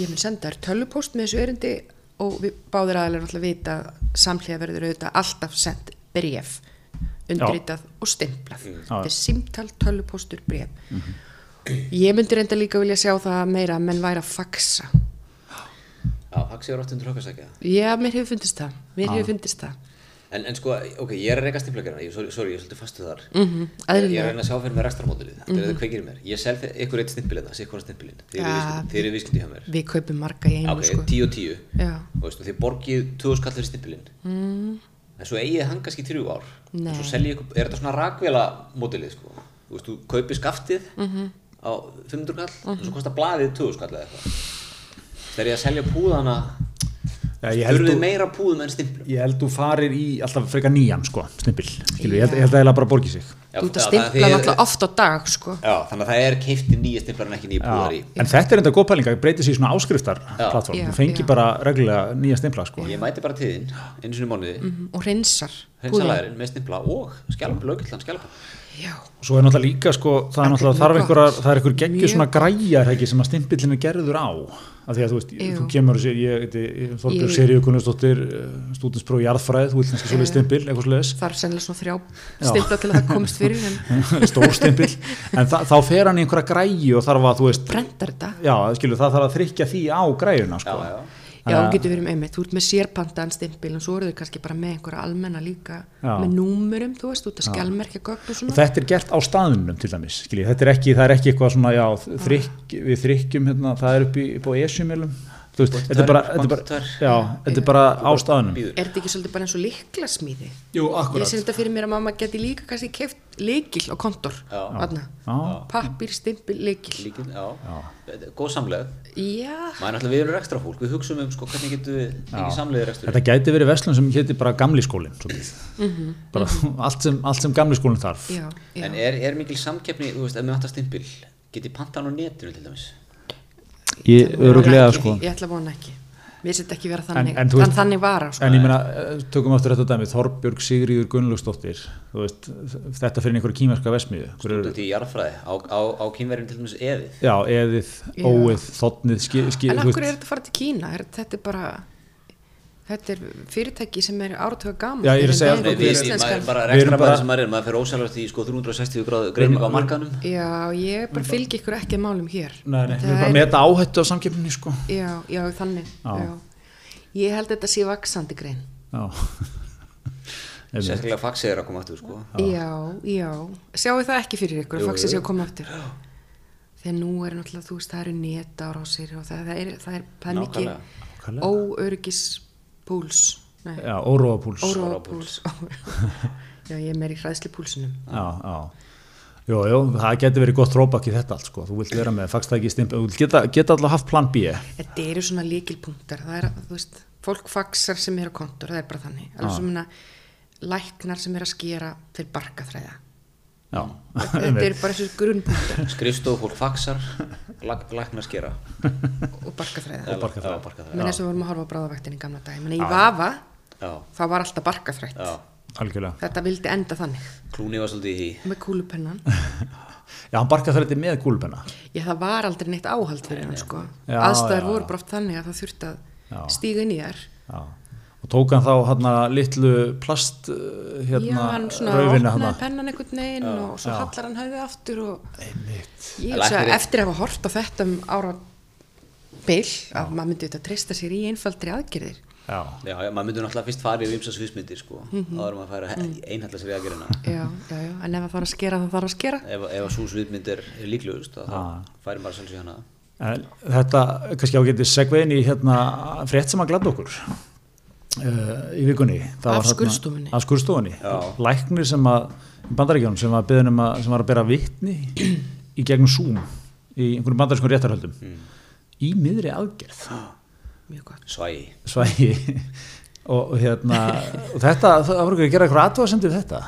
Speaker 2: ég mun senda þér tölvupóst með þessu erindi og við báðir aðalega náttúrulega vita að samhliða verður auðvitað alltaf sendt bref, undirritað og stimplað. Þetta er símtal, tölvupóstur, bref. Ég myndi reynda líka vilja sjá það meira að menn væri að faxa.
Speaker 3: Já, haxi er oft undir höfkasækja.
Speaker 2: Já, mér hefur fundist það, mér hefur fundist það.
Speaker 3: En, en sko, ok, ég er að reyka stimplagerina, ég, sorry, sorry, ég er svolítið fastu þar.
Speaker 2: Mhm,
Speaker 3: Ég ég
Speaker 2: eðlilega.
Speaker 3: er að reyna að sjá fyrir með rekstarmódulið, þetta er þetta kveikir í mér. Ég sel þér- ykkur eitt stimpilina, sikkur stimpilin, þeir
Speaker 2: Ja,
Speaker 3: eru viðskipti hjá mér.
Speaker 2: Við kaupum marga í einu
Speaker 3: Ok,
Speaker 2: sko.
Speaker 3: tíu og tíu.
Speaker 2: Já,
Speaker 3: og veistu, þið borgið 2000 kall fyrir stimpilinn mm. en svo eigið hann kannski í þrjú ár
Speaker 2: Nei.
Speaker 3: en svo seljið ykkur, er þetta svona rakvela mótilið sko, þú veist, þú kaupir skaftið
Speaker 2: Mhm.
Speaker 3: -hmm. á 500 kall og svo kostar blaðið 2000 kall eða eitthvað þegar ég að selja púðana
Speaker 1: Já, ég held
Speaker 3: Þurfið
Speaker 1: þú-
Speaker 3: meira af púðum en stimplum
Speaker 1: Ég held þú farir í alltaf frekar nýjan sko, stimpil, skilur, ég held, ég held að það bara borgi sig
Speaker 3: Já,
Speaker 2: Þú ert að
Speaker 3: já, það-
Speaker 2: stimpla
Speaker 3: þið-
Speaker 2: alltaf oft á dag, sko.
Speaker 3: Já, þannig að það er keifti nýja stimplar en ekki nýja púðar í
Speaker 1: En þetta er enda góð pælinga, breytir sér í svona áskriftar
Speaker 3: Já.
Speaker 1: plattform,
Speaker 2: Já,
Speaker 1: þú fengir
Speaker 2: já.
Speaker 1: bara reglulega nýja stimpla sko.
Speaker 3: Ég mæti bara tíðin, einu sinni í mánuði
Speaker 2: Mhm, Og hreinsar. púðin.
Speaker 3: hreinsalæðurinn með stimpla og skjálp, lögullan skjálp
Speaker 2: Já.
Speaker 1: Svo er náttúrulega líka sko, það er
Speaker 2: Þetta er
Speaker 1: náttúrulega
Speaker 2: mjög
Speaker 1: þarf einhverjar,
Speaker 2: gott.
Speaker 1: það er einhver geggjur
Speaker 2: Mjög
Speaker 1: svona
Speaker 2: gott.
Speaker 1: græjar ekki sem að stimpillin er gerður á af því að þú veist,
Speaker 2: Jú.
Speaker 1: þú kemur sér, ég, ég, ég Þorbjörg
Speaker 2: Ég-
Speaker 1: Serju Gunnarsdóttir stúdinspróf jarðfræð, þú vilt kannski svolítið stimpil eitthvað svolítið,
Speaker 2: Það er sennilega svona þrjá
Speaker 1: Já.
Speaker 2: stimpla til að það komist fyrir en
Speaker 1: *laughs* stór stimpil en þa þá fer hann í einhverja græju og þarf að, þú veist,
Speaker 2: brendar þetta.
Speaker 1: já, skilur, það þarf að þrykja því á græjuna sko.
Speaker 3: Já, já.
Speaker 2: Já,
Speaker 1: Þannig
Speaker 2: þú
Speaker 1: að-
Speaker 2: getur verið með einmitt, þú ert með sérpantaðan stimpil en svo eru þau kannski bara með einhverja almenna líka
Speaker 1: Já.
Speaker 2: með númurum, þú veist, út að skjálmerkja gögn og
Speaker 1: Og
Speaker 2: svona.
Speaker 1: þetta er gert á staðunum til dæmis skilji. þetta er ekki, það er ekki eitthvað svona já, þrykk, við þrykkjum hérna, það er upp í, upp á esjumilum veist,
Speaker 3: Bótt
Speaker 1: þetta er bara,
Speaker 3: tvær,
Speaker 1: þetta er
Speaker 3: bótt
Speaker 1: bara,
Speaker 3: tvær.
Speaker 1: já, þetta er bara á staðunum
Speaker 3: Bíður.
Speaker 2: Er þetta ekki svolítið bara eins og liklasmíði?
Speaker 1: Jú,
Speaker 2: Ég sé þetta fyrir mér að mamma geti líka kannski keft likil á kontor.
Speaker 3: Já.
Speaker 2: Þarna.
Speaker 1: Já.
Speaker 2: Pappír, stimpil, likil.
Speaker 3: Líkin, já, já. góð samlega
Speaker 2: Já,
Speaker 3: maður er alltaf við erum ekstra fólk, við hugsum um sko, hvernig getum við ekki samlega rekstur
Speaker 1: Þetta gæti verið verslun sem héti bara gamli skólinn mm -hmm. bara allt sem, allt sem gamli skólinn þarf
Speaker 2: Mhm. já, já.
Speaker 3: en er, er mikil samkeppni, þú veist, ef við vantar stimpil geti pantað hann á netinu til dæmis
Speaker 1: ég öruglega
Speaker 2: Ekki,
Speaker 1: sko
Speaker 2: Ég ætla að vona ekki. Mér setja ekki vera
Speaker 1: En-
Speaker 2: þannig.
Speaker 1: en
Speaker 2: En,
Speaker 1: þú veist-
Speaker 2: þannig vara, sko.
Speaker 1: En ég meina, eh, tökum aftur þetta dæmi, Þorbjörg Sigríður Gunnlaugsdóttir, þú veist, þetta fyrir einhverju kímerska vesmiðu.
Speaker 3: út í jarðfræði, á, á, á kynverjum til dæmis eðið
Speaker 1: Já, eðið,
Speaker 2: Já.
Speaker 1: óið, þotnið, skið, skið,
Speaker 2: en akkur er þetta að fara til Kína? Er, þetta er bara, þetta er fyrirtæki sem er áratuga gaman.
Speaker 1: Já, ég er að segja
Speaker 3: Nei,
Speaker 1: Við-
Speaker 3: við, við,
Speaker 2: íslenskan.
Speaker 3: maður, bara
Speaker 1: Við erum
Speaker 3: rekstra bara
Speaker 1: bara-
Speaker 3: sem maður er, maður fer ósælast í sko 360 gráðu greiningu á markanum
Speaker 2: Já, ég bara fylgi ykkur ekki að málum hér.
Speaker 1: Nei, nei,
Speaker 2: Það
Speaker 1: við erum bara
Speaker 2: er-
Speaker 1: að meta áhættu af samkeppninni, sko.
Speaker 2: Já, já, þannig.
Speaker 1: Já.
Speaker 2: Já. Ég held að þetta sé vaksandi grein.
Speaker 1: Já. *laughs* Einmitt.
Speaker 3: sérstaklega faxið er að koma aftur sko
Speaker 2: Já, já. Sjáu það ekki fyrir ykkur
Speaker 3: Jú,
Speaker 2: að faxið
Speaker 3: jú.
Speaker 2: sé að koma aftur. Þegar nú er náttúrulega, þú veist, það eru netárásir og það, það er, það er, það er mikið
Speaker 3: Nákvæmlega.
Speaker 1: Nákvæmlega. Eh,
Speaker 2: óörgispúls. Nei,
Speaker 1: Já, óróapúls.
Speaker 2: óróapúls. *laughs* já, ég er meir í hræðslipúlsinum.
Speaker 1: Já, já. Jó, jó, það getur verið gott throwback í þetta allt, sko. Þú vilt vera með fagstæki stimpa, þú vilt geta, geta alltaf haft plan B.
Speaker 2: Þetta eru svona líkilpunktar, það er, þú veist, fólk faxar sem er á kontor, það er bara þannig. Alveg
Speaker 1: Já.
Speaker 2: sem minna, læknar sem er að skera til barkaþræða.
Speaker 1: Já.
Speaker 2: Þetta eru bara þessu grunnpunktar
Speaker 3: skrifstof fólk faxar, *laughs* lag, lagnar skera
Speaker 2: og barkaþræða.
Speaker 3: Eða-
Speaker 1: barkaþræða.
Speaker 3: já, barkaþræða.
Speaker 2: Menn eins og við vorum að horfa á bráðavaktin í gamla dag. Menn í vafa,
Speaker 3: Já,
Speaker 2: þá var alltaf barkaþrætt.
Speaker 3: já,
Speaker 1: Algjörlega.
Speaker 2: Þetta vildi enda þannig,
Speaker 3: klúni var svolítið í því
Speaker 2: með
Speaker 1: *laughs*
Speaker 2: kúlupennan.
Speaker 1: Já, hann barkað þrætti með gúlpenna.
Speaker 2: Já, það var aldrei neitt áhald fyrir hann, sko.
Speaker 1: Já,
Speaker 2: Aðstæður
Speaker 1: já,
Speaker 2: voru
Speaker 1: já.
Speaker 2: bara oft þannig að það þurfti
Speaker 1: Já.
Speaker 2: að stíga inn í þær.
Speaker 1: Já. Og tók hann þá hann litlu plast, uh, hérna,
Speaker 2: Já, hann svona
Speaker 1: raufinu
Speaker 2: opnaði
Speaker 1: þarna.
Speaker 2: pennan einhvern veginn og svo hallar hann höfði aftur og
Speaker 1: Einmitt.
Speaker 2: Ég
Speaker 3: En
Speaker 2: hugsa að
Speaker 3: læknirinn-
Speaker 2: eftir að hafa hort á þetta um ára bil að maður myndi þetta treysta sér í einfaldri aðgerðir
Speaker 1: Já.
Speaker 3: Já, já, maður myndur náttúrulega fyrst farið við ymsa sviðsmyndir sko, áður en maður færa einhalla sér í aðgerina
Speaker 2: já, já, já, en ef það þarf að skera þá þarf að skera
Speaker 3: ef, ef að svo sviðmynd er er líklegust að
Speaker 1: Ah.
Speaker 3: þá færi maður svolítið hana
Speaker 1: En þetta, kannski ágætið segvein í hérna frétt sem að gladda okkur uh, í vikunni. Það
Speaker 2: Af
Speaker 1: var þarna-
Speaker 2: skurðstofunni.
Speaker 1: Af skurstofunni.
Speaker 3: Já.
Speaker 1: Læknir sem að, í bandaríkjónum, sem var beðin um að, sem var að bera vitni í gegnum Zoom í einhverjum bandarískum réttarhöldum. Í miðri aðgerð.
Speaker 2: mjög gott
Speaker 3: svægi
Speaker 1: Svægi. og, og hérna, og þetta, það var ekki að gera eitthvað aðtöðasendur við þetta.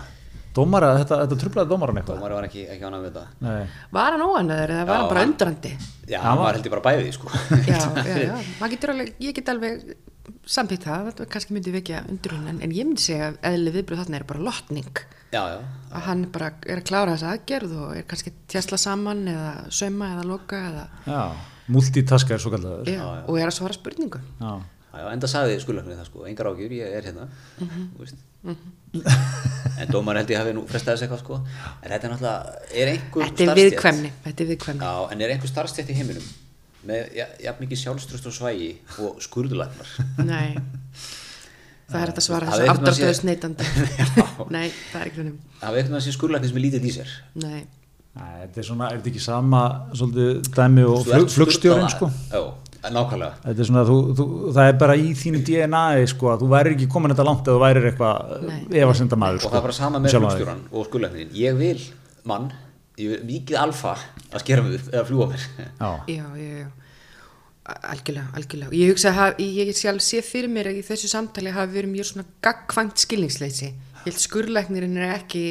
Speaker 1: Dómara, þetta, þetta trublaði dómaran eitthvað.
Speaker 3: Dómari var ekki, ekki ánað með þetta
Speaker 1: Nei.
Speaker 2: var hann óanöður eða var
Speaker 3: Já,
Speaker 2: hann bara
Speaker 3: hann-
Speaker 2: undrandi
Speaker 3: Já, hann var heldur bara bæðið sko
Speaker 2: já,
Speaker 3: *laughs*
Speaker 2: já, já, maður getur alveg ég get alveg samþýtt það þetta kannski myndi vekja undrun en, en ég myndi segja að eðli viðbröð þarna er bara lotning
Speaker 3: Já, já,
Speaker 2: að hann bara er að klára þessa aðgerð og er kannski að tjæsla saman eða söma eða loka eða,
Speaker 1: Já. Multitaskar, svo kallaður.
Speaker 2: já, og er að svara spurningum
Speaker 1: Já.
Speaker 3: já, já enda sagði skulöknir það sko, engar ágjur, ég er hérna mm
Speaker 2: Mhm.
Speaker 3: -hmm. En dómari heldur ég hafi nú frestaðis eitthvað sko En þetta er náttúrulega, er einhver
Speaker 2: þetta er
Speaker 3: starfsstétt-
Speaker 2: viðkvæmni, þetta er viðkvæmni.
Speaker 3: Já, en er einhver starfstætt í heiminum með ja, jafn mikið sjálfströst og svægi og skurðulæknar
Speaker 2: Nei, það er hægt að svara
Speaker 3: Það
Speaker 2: þessu
Speaker 3: er eitthvað
Speaker 2: afdráttuðus
Speaker 3: sé-
Speaker 2: neytandi.
Speaker 3: *laughs* Já.
Speaker 2: Nei, það er ekki þannig.
Speaker 3: Það er eitthvað sem skurðulæknir sem er lítið í sér
Speaker 2: Nei,
Speaker 1: Nei, þetta er svona, er þetta ekki sama svolítið dæmi og
Speaker 3: Þú
Speaker 1: flug,
Speaker 3: ert
Speaker 1: flugstjórin sko?
Speaker 3: sturlaður. Já, en nákvæmlega
Speaker 1: Þetta er svona, þú, þú, það er bara í þínu DNA-i sko að þú væri ekki komin þetta langt eða þú væri
Speaker 2: Nei.
Speaker 1: eitthvað efasenda maður
Speaker 3: Og
Speaker 1: sko.
Speaker 3: það er bara sama með
Speaker 1: Sjálfan þig.
Speaker 3: flugstjóran og skurðulæknirinn Ég vil mann, ég vil mikið alfa að skera mig upp eða fljúa mér
Speaker 1: Já,
Speaker 2: já, já, já. algjörlega, algjörlega og ég hugsa að haf- ég ég sjálf sé fyrir mér að í þessu samtali hafi verið mjög svona gagkvæmt skilningsleysi ég held skurlæknirinn er ekki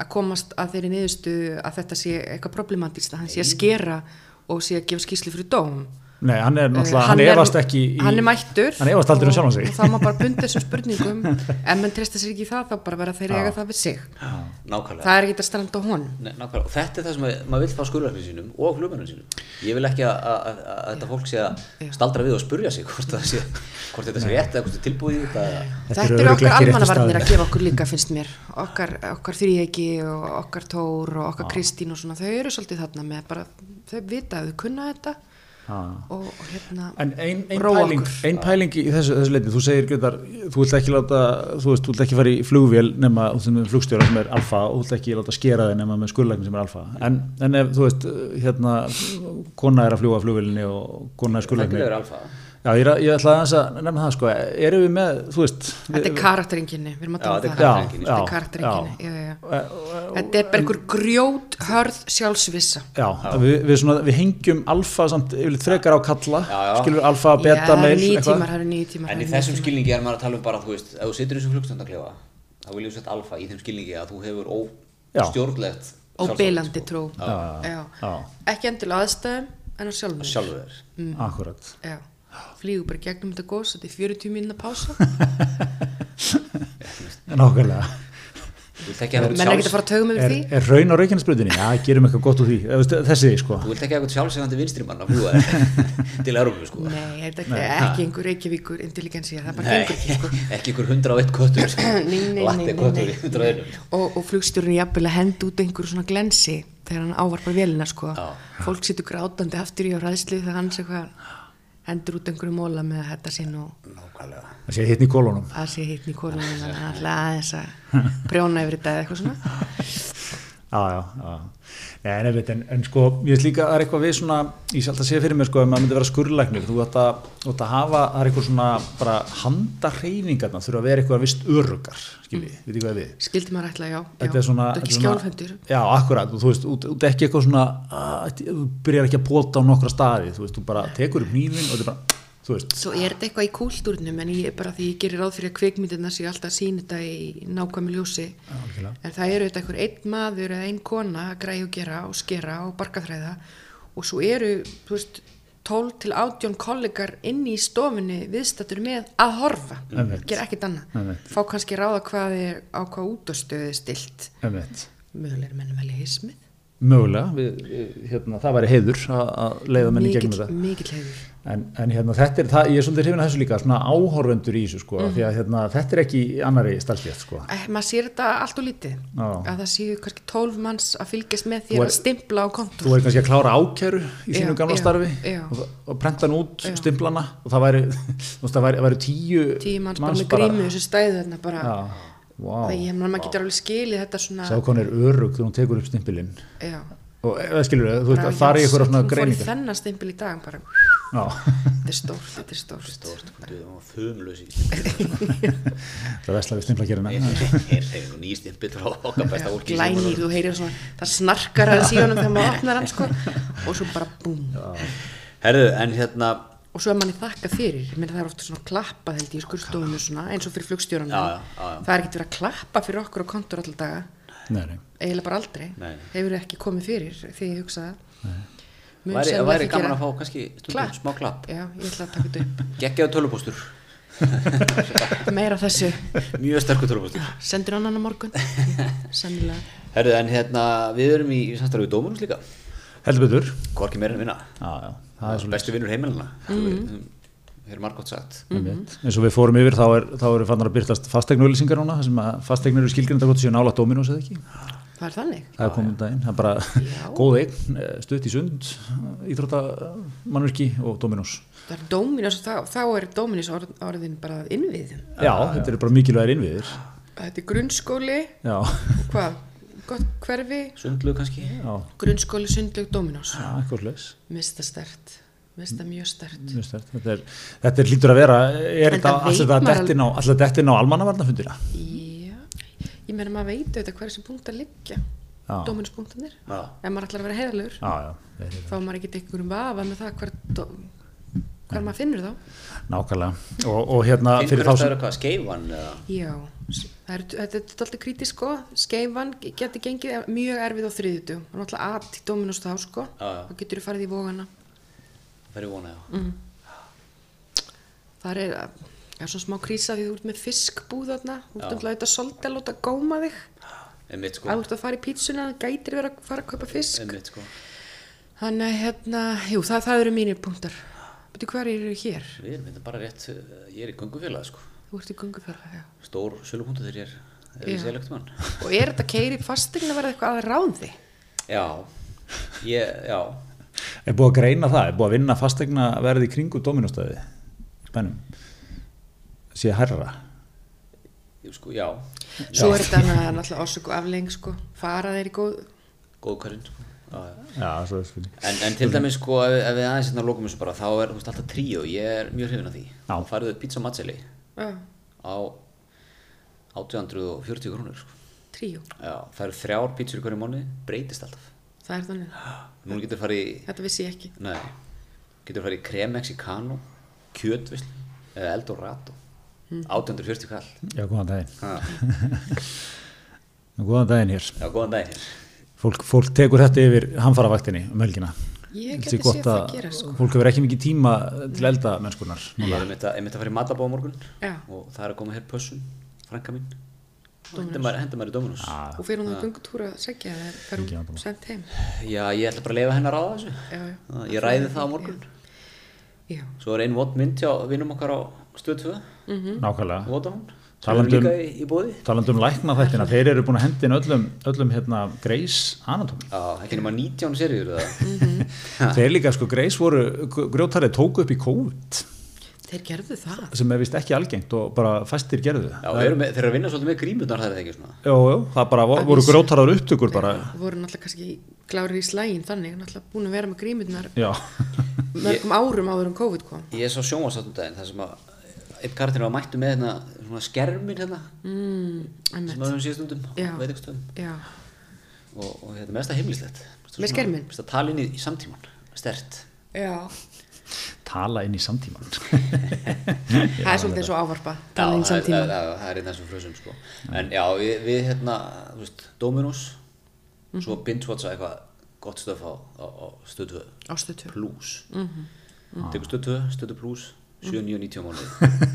Speaker 2: að komast að þeirri niðurstu að þetta sé eitthvað problematist að hann sé að skera og sé að gefa skýslu fyrir dóm
Speaker 1: Nei, hann er náttúrulega,
Speaker 2: Eh,
Speaker 1: hann, efast ekki í,
Speaker 2: hann er mættur
Speaker 1: Hann efast aldrei um
Speaker 2: og-
Speaker 1: sjálfan
Speaker 2: *laughs*
Speaker 1: sig
Speaker 2: og þá má bara bunda þessum
Speaker 1: *laughs*
Speaker 2: spurningum ef menn treysta sér ekki í það þá bara vera þeir eiga það við sig
Speaker 3: nákvæmlega
Speaker 2: það er ekki að stranda á honum
Speaker 3: Nei, nákvæmlega, og þetta er það sem að- maður vil fá skurðarinn sínum og flugmennum sínum. Ég vil ekki að, að, að, að þetta fólk sé að staldra við og spurja sig hvort, það sé, hvort þetta sé rétt eða hvort þetta er tilbúið í þetta. eða-
Speaker 1: Þetta
Speaker 2: Þetta
Speaker 1: eru
Speaker 2: eru
Speaker 1: örugglega
Speaker 2: okkar
Speaker 1: ekki rétti
Speaker 2: almannavarnir að
Speaker 1: staðurinn.
Speaker 2: gefa okkur líka, finnst mér. Okkar, okkar þrýhegi og okkar Tór og okkar Kristín og svona, þau eru svolítið þarna með bara, þau vita að þau kunna þetta
Speaker 1: *laughs* Já.
Speaker 2: og, og hérna,
Speaker 1: En ein, ein,
Speaker 2: Róa
Speaker 1: pæling,
Speaker 2: okkur.
Speaker 1: ein pæling í þessu, þessu leitni, þú segir Gretar, þú vilt ekki láta, þú veist, þú vilt ekki fara í flugvél nema þú veist, með flugstjóra sem er alfa og þú vilt ekki láta skera þig nema með skurlækni sem er alfa. En, en ef, þú veist, hérna, kona er að fljúa flugvélinni og kona er skurlækni.
Speaker 3: Þetta er alfa.
Speaker 1: Já, ég, er að- ég ætlaði aðeins að nefna það, sko, erum við með, þú veist.
Speaker 2: þetta er karakteringinni, við erum að tala
Speaker 3: Já,
Speaker 2: um
Speaker 3: þetta
Speaker 2: það.
Speaker 3: er
Speaker 1: karaktereinkenni,
Speaker 2: Þetta
Speaker 1: já,
Speaker 2: er karakteringinni,
Speaker 1: já.
Speaker 2: já, já, já.
Speaker 1: kar
Speaker 2: Þetta er bara einhver grjót hörð sjálfsvissa.
Speaker 1: Já, Við, við, svona, við hengjum alfa samt yfirleitt frekar á kalla,
Speaker 3: Já, já.
Speaker 1: skilur alfa,
Speaker 2: Já,
Speaker 1: beta,
Speaker 2: það
Speaker 1: meil,
Speaker 2: eru nýju tímar, það eru nýju tímar.
Speaker 3: En
Speaker 2: það eru
Speaker 3: í
Speaker 2: níu
Speaker 3: þessum
Speaker 2: tímar.
Speaker 3: skilningi er maður að tala um bara, þú veist, ef þú situr í þessum flugstundaklefa, þá viljum við setja alfa í þeim skilningi að þú hefur
Speaker 1: Já.
Speaker 3: óstjórnlegt
Speaker 2: Óbilandi trú.
Speaker 1: Já, já, já.
Speaker 2: Ekki endilega á aðstæðum, en á sjálfum. þér.
Speaker 3: Sjálfur þér.
Speaker 2: Mm.
Speaker 1: Akkurat.
Speaker 2: Já, flýgur bara í gegnum þetta gós, þetta er 40 mínuna pása.
Speaker 1: Nákvæmlega.
Speaker 3: Þú vilt ekki að
Speaker 2: Menn er
Speaker 3: vera
Speaker 2: ekki að fara að taugum yfir
Speaker 1: er,
Speaker 2: því.
Speaker 1: er raun á Reykjanesbrutinni? Já, gerum eitthvað gott úr því, Eða, veist, þessi sko
Speaker 3: Þú vilt ekki hafa eitthvað sjálfsegandi vinstri mann að fljúa þér til Európu sko.
Speaker 2: Nei, þetta er ekki, ekki einhver Reykjavíkur intelligensía, það bara
Speaker 3: Nei,
Speaker 2: gengur ekki sko.
Speaker 3: ekki ykkur 101 köttur sko.
Speaker 2: *clears throat* Nei, nei, nei,
Speaker 3: Latte
Speaker 2: nei,
Speaker 3: köttur í
Speaker 2: nei.
Speaker 3: 101
Speaker 2: Og, og flugstjórun er jafnvel að henda út einhverju svona glensi þegar hann ávarpar velina sko.
Speaker 3: Já.
Speaker 2: Fólk situr grátandi aftur í á ræðslu þegar hans eitthvað hendur út einhverju móla með að þetta sinn og
Speaker 3: Nákvæmlega
Speaker 1: það sé hittn í kolonum
Speaker 2: að sé hittn í kolunum *laughs* þannig að hann ætla aðeins að prjóna yfir þetta eða eitthvað svona.
Speaker 1: já, já, já. Nei, en, einmitt, en, en sko, ég veist líka að það er eitthvað við svona ég sé alltaf að segja fyrir mér sko, ef maður myndi vera skurðlæknir þú ætti að, þú ætti að hafa, það er eitthvað svona bara handarreyfingarna þurfa að vera eitthvað vist örugar, skilji, mm. veit ég hvað er við
Speaker 2: Skildi maður ætla, já. já.
Speaker 1: þetta er svona
Speaker 2: Þetta ekki
Speaker 1: svona-
Speaker 2: skjálfendur.
Speaker 1: já, akkurat, og þú veist, út, út ekki eitthvað svona að, þú byrjar ekki að pota á nokkra staði þú veist, þú bara tekur upp nýðin og þetta er bara, þú veist,
Speaker 2: Svo er þetta eitthvað í kúltúrnum en ég bara því ég gerir ráð fyrir að kvikmyndirna séu alltaf að sína þetta í nákvæmi ljósi
Speaker 1: algjörlega.
Speaker 2: en það eru þetta einhver einn maður eða einn kona að græja og gera og skera og barkaþræða og svo eru þú veist 12 til 18 kollegar inni í stofunni viðstattur með að horfa
Speaker 1: Einmitt.
Speaker 2: gera ekkert annað,
Speaker 1: Einmitt.
Speaker 2: fá kannski ráða hvað er á hvað útastöðu stilt
Speaker 1: emmitt
Speaker 2: mögulega er menn að velja hismið
Speaker 1: mögulega, við, við, hérna, það væri heiður að, að leiða menni gegnum þetta
Speaker 2: mikill hefur
Speaker 1: En, en hérna, þetta er, það, ég er svolítið hrifin að þessu líka, svona áhorfendur í þessu sko, því
Speaker 2: Mhm.
Speaker 1: að hérna, þetta er ekki í annari starfstétt sko.
Speaker 2: Eh, maður sér þetta allt og lítið
Speaker 1: Já.
Speaker 2: að það séu kannski 12 manns að fylgjast með
Speaker 1: Þú
Speaker 2: þér
Speaker 1: er-
Speaker 2: að stimpla á
Speaker 1: Þú
Speaker 2: kontor
Speaker 1: er kannski að klára ákæru í
Speaker 2: Já,
Speaker 1: sínu gamla
Speaker 2: já,
Speaker 1: starfi
Speaker 2: já.
Speaker 1: og, það- og prenta hann út, stimplana og það væri, *laughs* þú veist, það væri, væri tíu,
Speaker 2: tíu manns bara með grímu þessu stæðu þarna bara
Speaker 1: Já, vá,
Speaker 2: það ég maður getur alveg skilið þetta svona
Speaker 1: sá hvað hann er örug þegar hún tekur upp stimpilinn
Speaker 2: já,
Speaker 1: og eh, eða skilur þau, þú veist,
Speaker 2: bara,
Speaker 1: að fara í
Speaker 2: já,
Speaker 1: eitthvað svona
Speaker 2: hún fór í
Speaker 1: greiningar.
Speaker 2: þennan stimpil í dag bara,
Speaker 1: Já, *laughs*
Speaker 2: þetta er stórt, þetta er stórt
Speaker 3: Stórt, hvað þú var fumlaus í
Speaker 1: það vesla við stimplakerina.
Speaker 3: Hér hefur nýst einn bitur á okkar besta fólki sem
Speaker 2: glænir, þú heyrir svona það snarkar að síðanum þegar maður opnar hann sko, og svo bara búm
Speaker 3: var- Herðu, en hérna
Speaker 2: og svo er manni þakka fyrir ég meina það er ofta svona klappa held ég í skurstofunum svona, eins og fyrir flugstjóranum
Speaker 3: Já, já, já, já.
Speaker 2: það er ekkert verið að klappa fyrir okkur á kontor alltaf daga
Speaker 1: Nei, nei.
Speaker 2: eiginlega bara aldrei,
Speaker 3: Nei.
Speaker 2: hefur ekki komið fyrir þegar ég hugsa það Mun
Speaker 3: væri,
Speaker 2: sennilega
Speaker 3: væri
Speaker 2: ekki
Speaker 3: gaman
Speaker 2: gera-
Speaker 3: að fá kannski stundum
Speaker 2: Klapp.
Speaker 3: smá klapp
Speaker 2: já, ég ætla að taka þetta
Speaker 3: Gekkjaðu tölupóstur
Speaker 2: upp meira af
Speaker 3: *laughs*
Speaker 2: þessu,
Speaker 3: Mjög sterkur tölupóstur
Speaker 2: sendir hann hann á
Speaker 3: *laughs*
Speaker 2: morgun sennilega
Speaker 3: Herðu, en hérna við erum í, í samstarfið dómunus líka
Speaker 1: Heldur betur.
Speaker 3: Hvorki meira en vinna
Speaker 1: Já, já, það er svo
Speaker 3: Bestu vinnur heimilina Það er margótt sagt
Speaker 1: Einmitt. Mhm. eins og við fórum yfir þá, er, þá eru fannar að byrtast fastegnauðlýsingar núna þar sem að fastegnar eru skilgrinda hvort séu nála Dominos eða ekki
Speaker 2: það er þannig
Speaker 1: það er komið um daginn, það er bara góð eign eh, stutt í sund, íþróttamannverki og Dominos
Speaker 2: það er Dominus, þá, þá er Dominus orð, orðin bara að innviðum
Speaker 1: já, þetta eru bara mikilvægir innviðir
Speaker 2: þetta er grunnskóli
Speaker 1: já, *laughs*
Speaker 2: og hvað, gott hverfi
Speaker 3: Sundlu kannski
Speaker 1: já,
Speaker 2: grunnskóli sundlög Dominus
Speaker 1: já eitthvað slags
Speaker 2: mista stert, mista mjög stert
Speaker 1: þetta, er, þetta er lítur að vera er
Speaker 2: En
Speaker 1: þetta
Speaker 2: það veit
Speaker 1: alltaf
Speaker 2: maður
Speaker 1: þetta dettin á, alltaf dettin á almannavarnafundina
Speaker 2: já, ég meina maður veit auðvitað hver þessi punkt að liggja
Speaker 1: Já.
Speaker 2: Dominus.nir
Speaker 3: Já.
Speaker 2: ef maður ætlar að vera heiðalur
Speaker 1: já, já,
Speaker 2: þá er maður ekki einhverjum vafa með það hver, hvar maður finnur þá
Speaker 1: nákvæmlega og, og hérna fyrir þá sem
Speaker 3: eru hvað, skeifan eða
Speaker 2: já, það er, þetta er alltaf krítisk sko, skeifan getur gengið e- mjög erfið á þriðutu og náttúrulega að til Dominus þá sko
Speaker 3: Já, já.
Speaker 2: þá getur þú farið í vógana
Speaker 3: verið vona já.
Speaker 2: þar er, það er svona smá krísa því þú ert með fiskbúð þarna þú
Speaker 3: Já.
Speaker 2: ert umlað þetta svolítið að láta góma þig
Speaker 3: einmitt sko,
Speaker 2: að þú ert að fara í pítsuna, það gætir verið að fara að kaupa fisk
Speaker 3: einmitt sko
Speaker 2: þannig að hérna, jú, það, það eru mínir punktar betur hvað eru hér?
Speaker 3: við erum hérna bara rétt, uh, ég er í gungufélag sko
Speaker 2: Þú ert í gungufjörða, já
Speaker 3: stór sölupunktu þegar ég er- er
Speaker 2: Já.
Speaker 3: í selektumann
Speaker 2: Og er þetta keiri fastegna verið eitthvað að ráði?
Speaker 3: já, ég, já
Speaker 1: er búið að greina það, er búið að vinna fastegna verði í kringu dominostæði spennum sé herra
Speaker 3: ég sko, já,
Speaker 2: Svo er þetta annað náttúrulega ásöku aflegging sko, fara þeir í góð
Speaker 3: góðkværin sko já, já
Speaker 1: já, svo er spurning
Speaker 3: En, en til dæmis sko, ef, ef við aðeins hérna lókum þessu bara, þá er þú veist, alltaf tríó, ég er mjög hrifin af því.
Speaker 1: Já.
Speaker 3: Þá færðu upp pizza matseli
Speaker 2: Já,
Speaker 3: á 840 krónur, sko.
Speaker 2: tríó,
Speaker 3: Já, það eru þrjár pizzur í hverju mánu, breytist alltaf.
Speaker 2: það er þannig
Speaker 3: Núna getur farið í,
Speaker 2: Þetta vissi ég ekki
Speaker 3: nei, getur farið í krem mexicano, kjötvisl, eða eldorado,
Speaker 2: Hmm.
Speaker 3: 840 kall.
Speaker 1: já, góðan daginn,
Speaker 3: Ha.
Speaker 1: góðan daginn hér
Speaker 3: Já, góðan dag hér.
Speaker 1: fólk, fólk tekur þetta yfir hamfaravaktinni um helgina
Speaker 2: Ég
Speaker 1: Þetta
Speaker 2: gæti
Speaker 1: er gott
Speaker 2: séð það
Speaker 1: að
Speaker 2: gera, sko.
Speaker 1: fólk hefur ekki mikið tíma til elda mennskunar
Speaker 3: Ég er einmitt að, einmitt að fara í matabá á morgun
Speaker 2: Já.
Speaker 3: og það er að koma hér pössun, franka mín. Hendur maður, hendur maður í Dominus.
Speaker 1: Ah,
Speaker 2: Og fyrir hún á gungutúra að segja það fer
Speaker 1: Ekki
Speaker 2: hún
Speaker 1: vandamál.
Speaker 2: sent heim
Speaker 3: Já, ég ætla bara að leifa hennar á þessu.
Speaker 2: Já, já.
Speaker 3: Það- Ég ræði það á morgun.
Speaker 2: Já,
Speaker 3: Svo er einn vond mynd hjá vinnum okkar á stöð 2,
Speaker 2: Mm. Mhm.
Speaker 1: nákvæmlega
Speaker 3: Vodafone. Svo er
Speaker 1: Talandi um-
Speaker 3: líka í, í bóði.
Speaker 1: talandum um lækna þættina, þeir eru búin að hendin öllum, öllum hérna, Grace Anatomy
Speaker 3: Já, ekki nema 19 seríur eða.
Speaker 2: Mhm.
Speaker 1: þeir líka sko, Grace voru grjótarið tóku upp í COVID
Speaker 2: þeir gerðu það
Speaker 1: sem er vist ekki algengt og bara fæstir gerðu það
Speaker 3: Já, þeir eru með- þeir eru að vinna svolítið með grímurnar þar eða ekki svona.
Speaker 1: Jú, jú, það bara vo-
Speaker 2: Að
Speaker 1: voru
Speaker 2: vísu.
Speaker 1: grjótarðar upptökur bara,
Speaker 2: Já, Voru náttúrulega kannski klárir í slægin þannig Náttúrulega búin að vera með grímurnar
Speaker 1: já,
Speaker 2: Mörgum árum áður en COVID kom
Speaker 3: Ég sá sjónvarsáttum daginn þar sem að einn karakter var mættu með hérna, svona skermin hérna,
Speaker 2: mm,
Speaker 3: sem
Speaker 2: einmitt.
Speaker 3: við höfum síðast undum,
Speaker 2: Já.
Speaker 3: veitumstöðum.
Speaker 2: Já,
Speaker 3: Og, og hérna, mest að heimlislegt.
Speaker 2: Með skerminn?
Speaker 3: Mest að tala inn í, í samtíman, stert.
Speaker 2: já
Speaker 1: *laughs* tala inn í
Speaker 2: *laughs*
Speaker 1: samtíman
Speaker 2: Það er svolítið eins og ávarpa Talin
Speaker 3: það er-
Speaker 2: samtíma
Speaker 3: það er- það er einn af þessum frösum sko. en já, við, við hérna þú veist, Dominos
Speaker 2: Mhm.
Speaker 3: svo binge-watcha eitthvað gott stöf á, á, á stöðu
Speaker 2: Ástötu
Speaker 3: plus mm
Speaker 2: Mhm.
Speaker 3: -hmm. tekur stöðu, stöðu plus 7, 9, 90 mánuði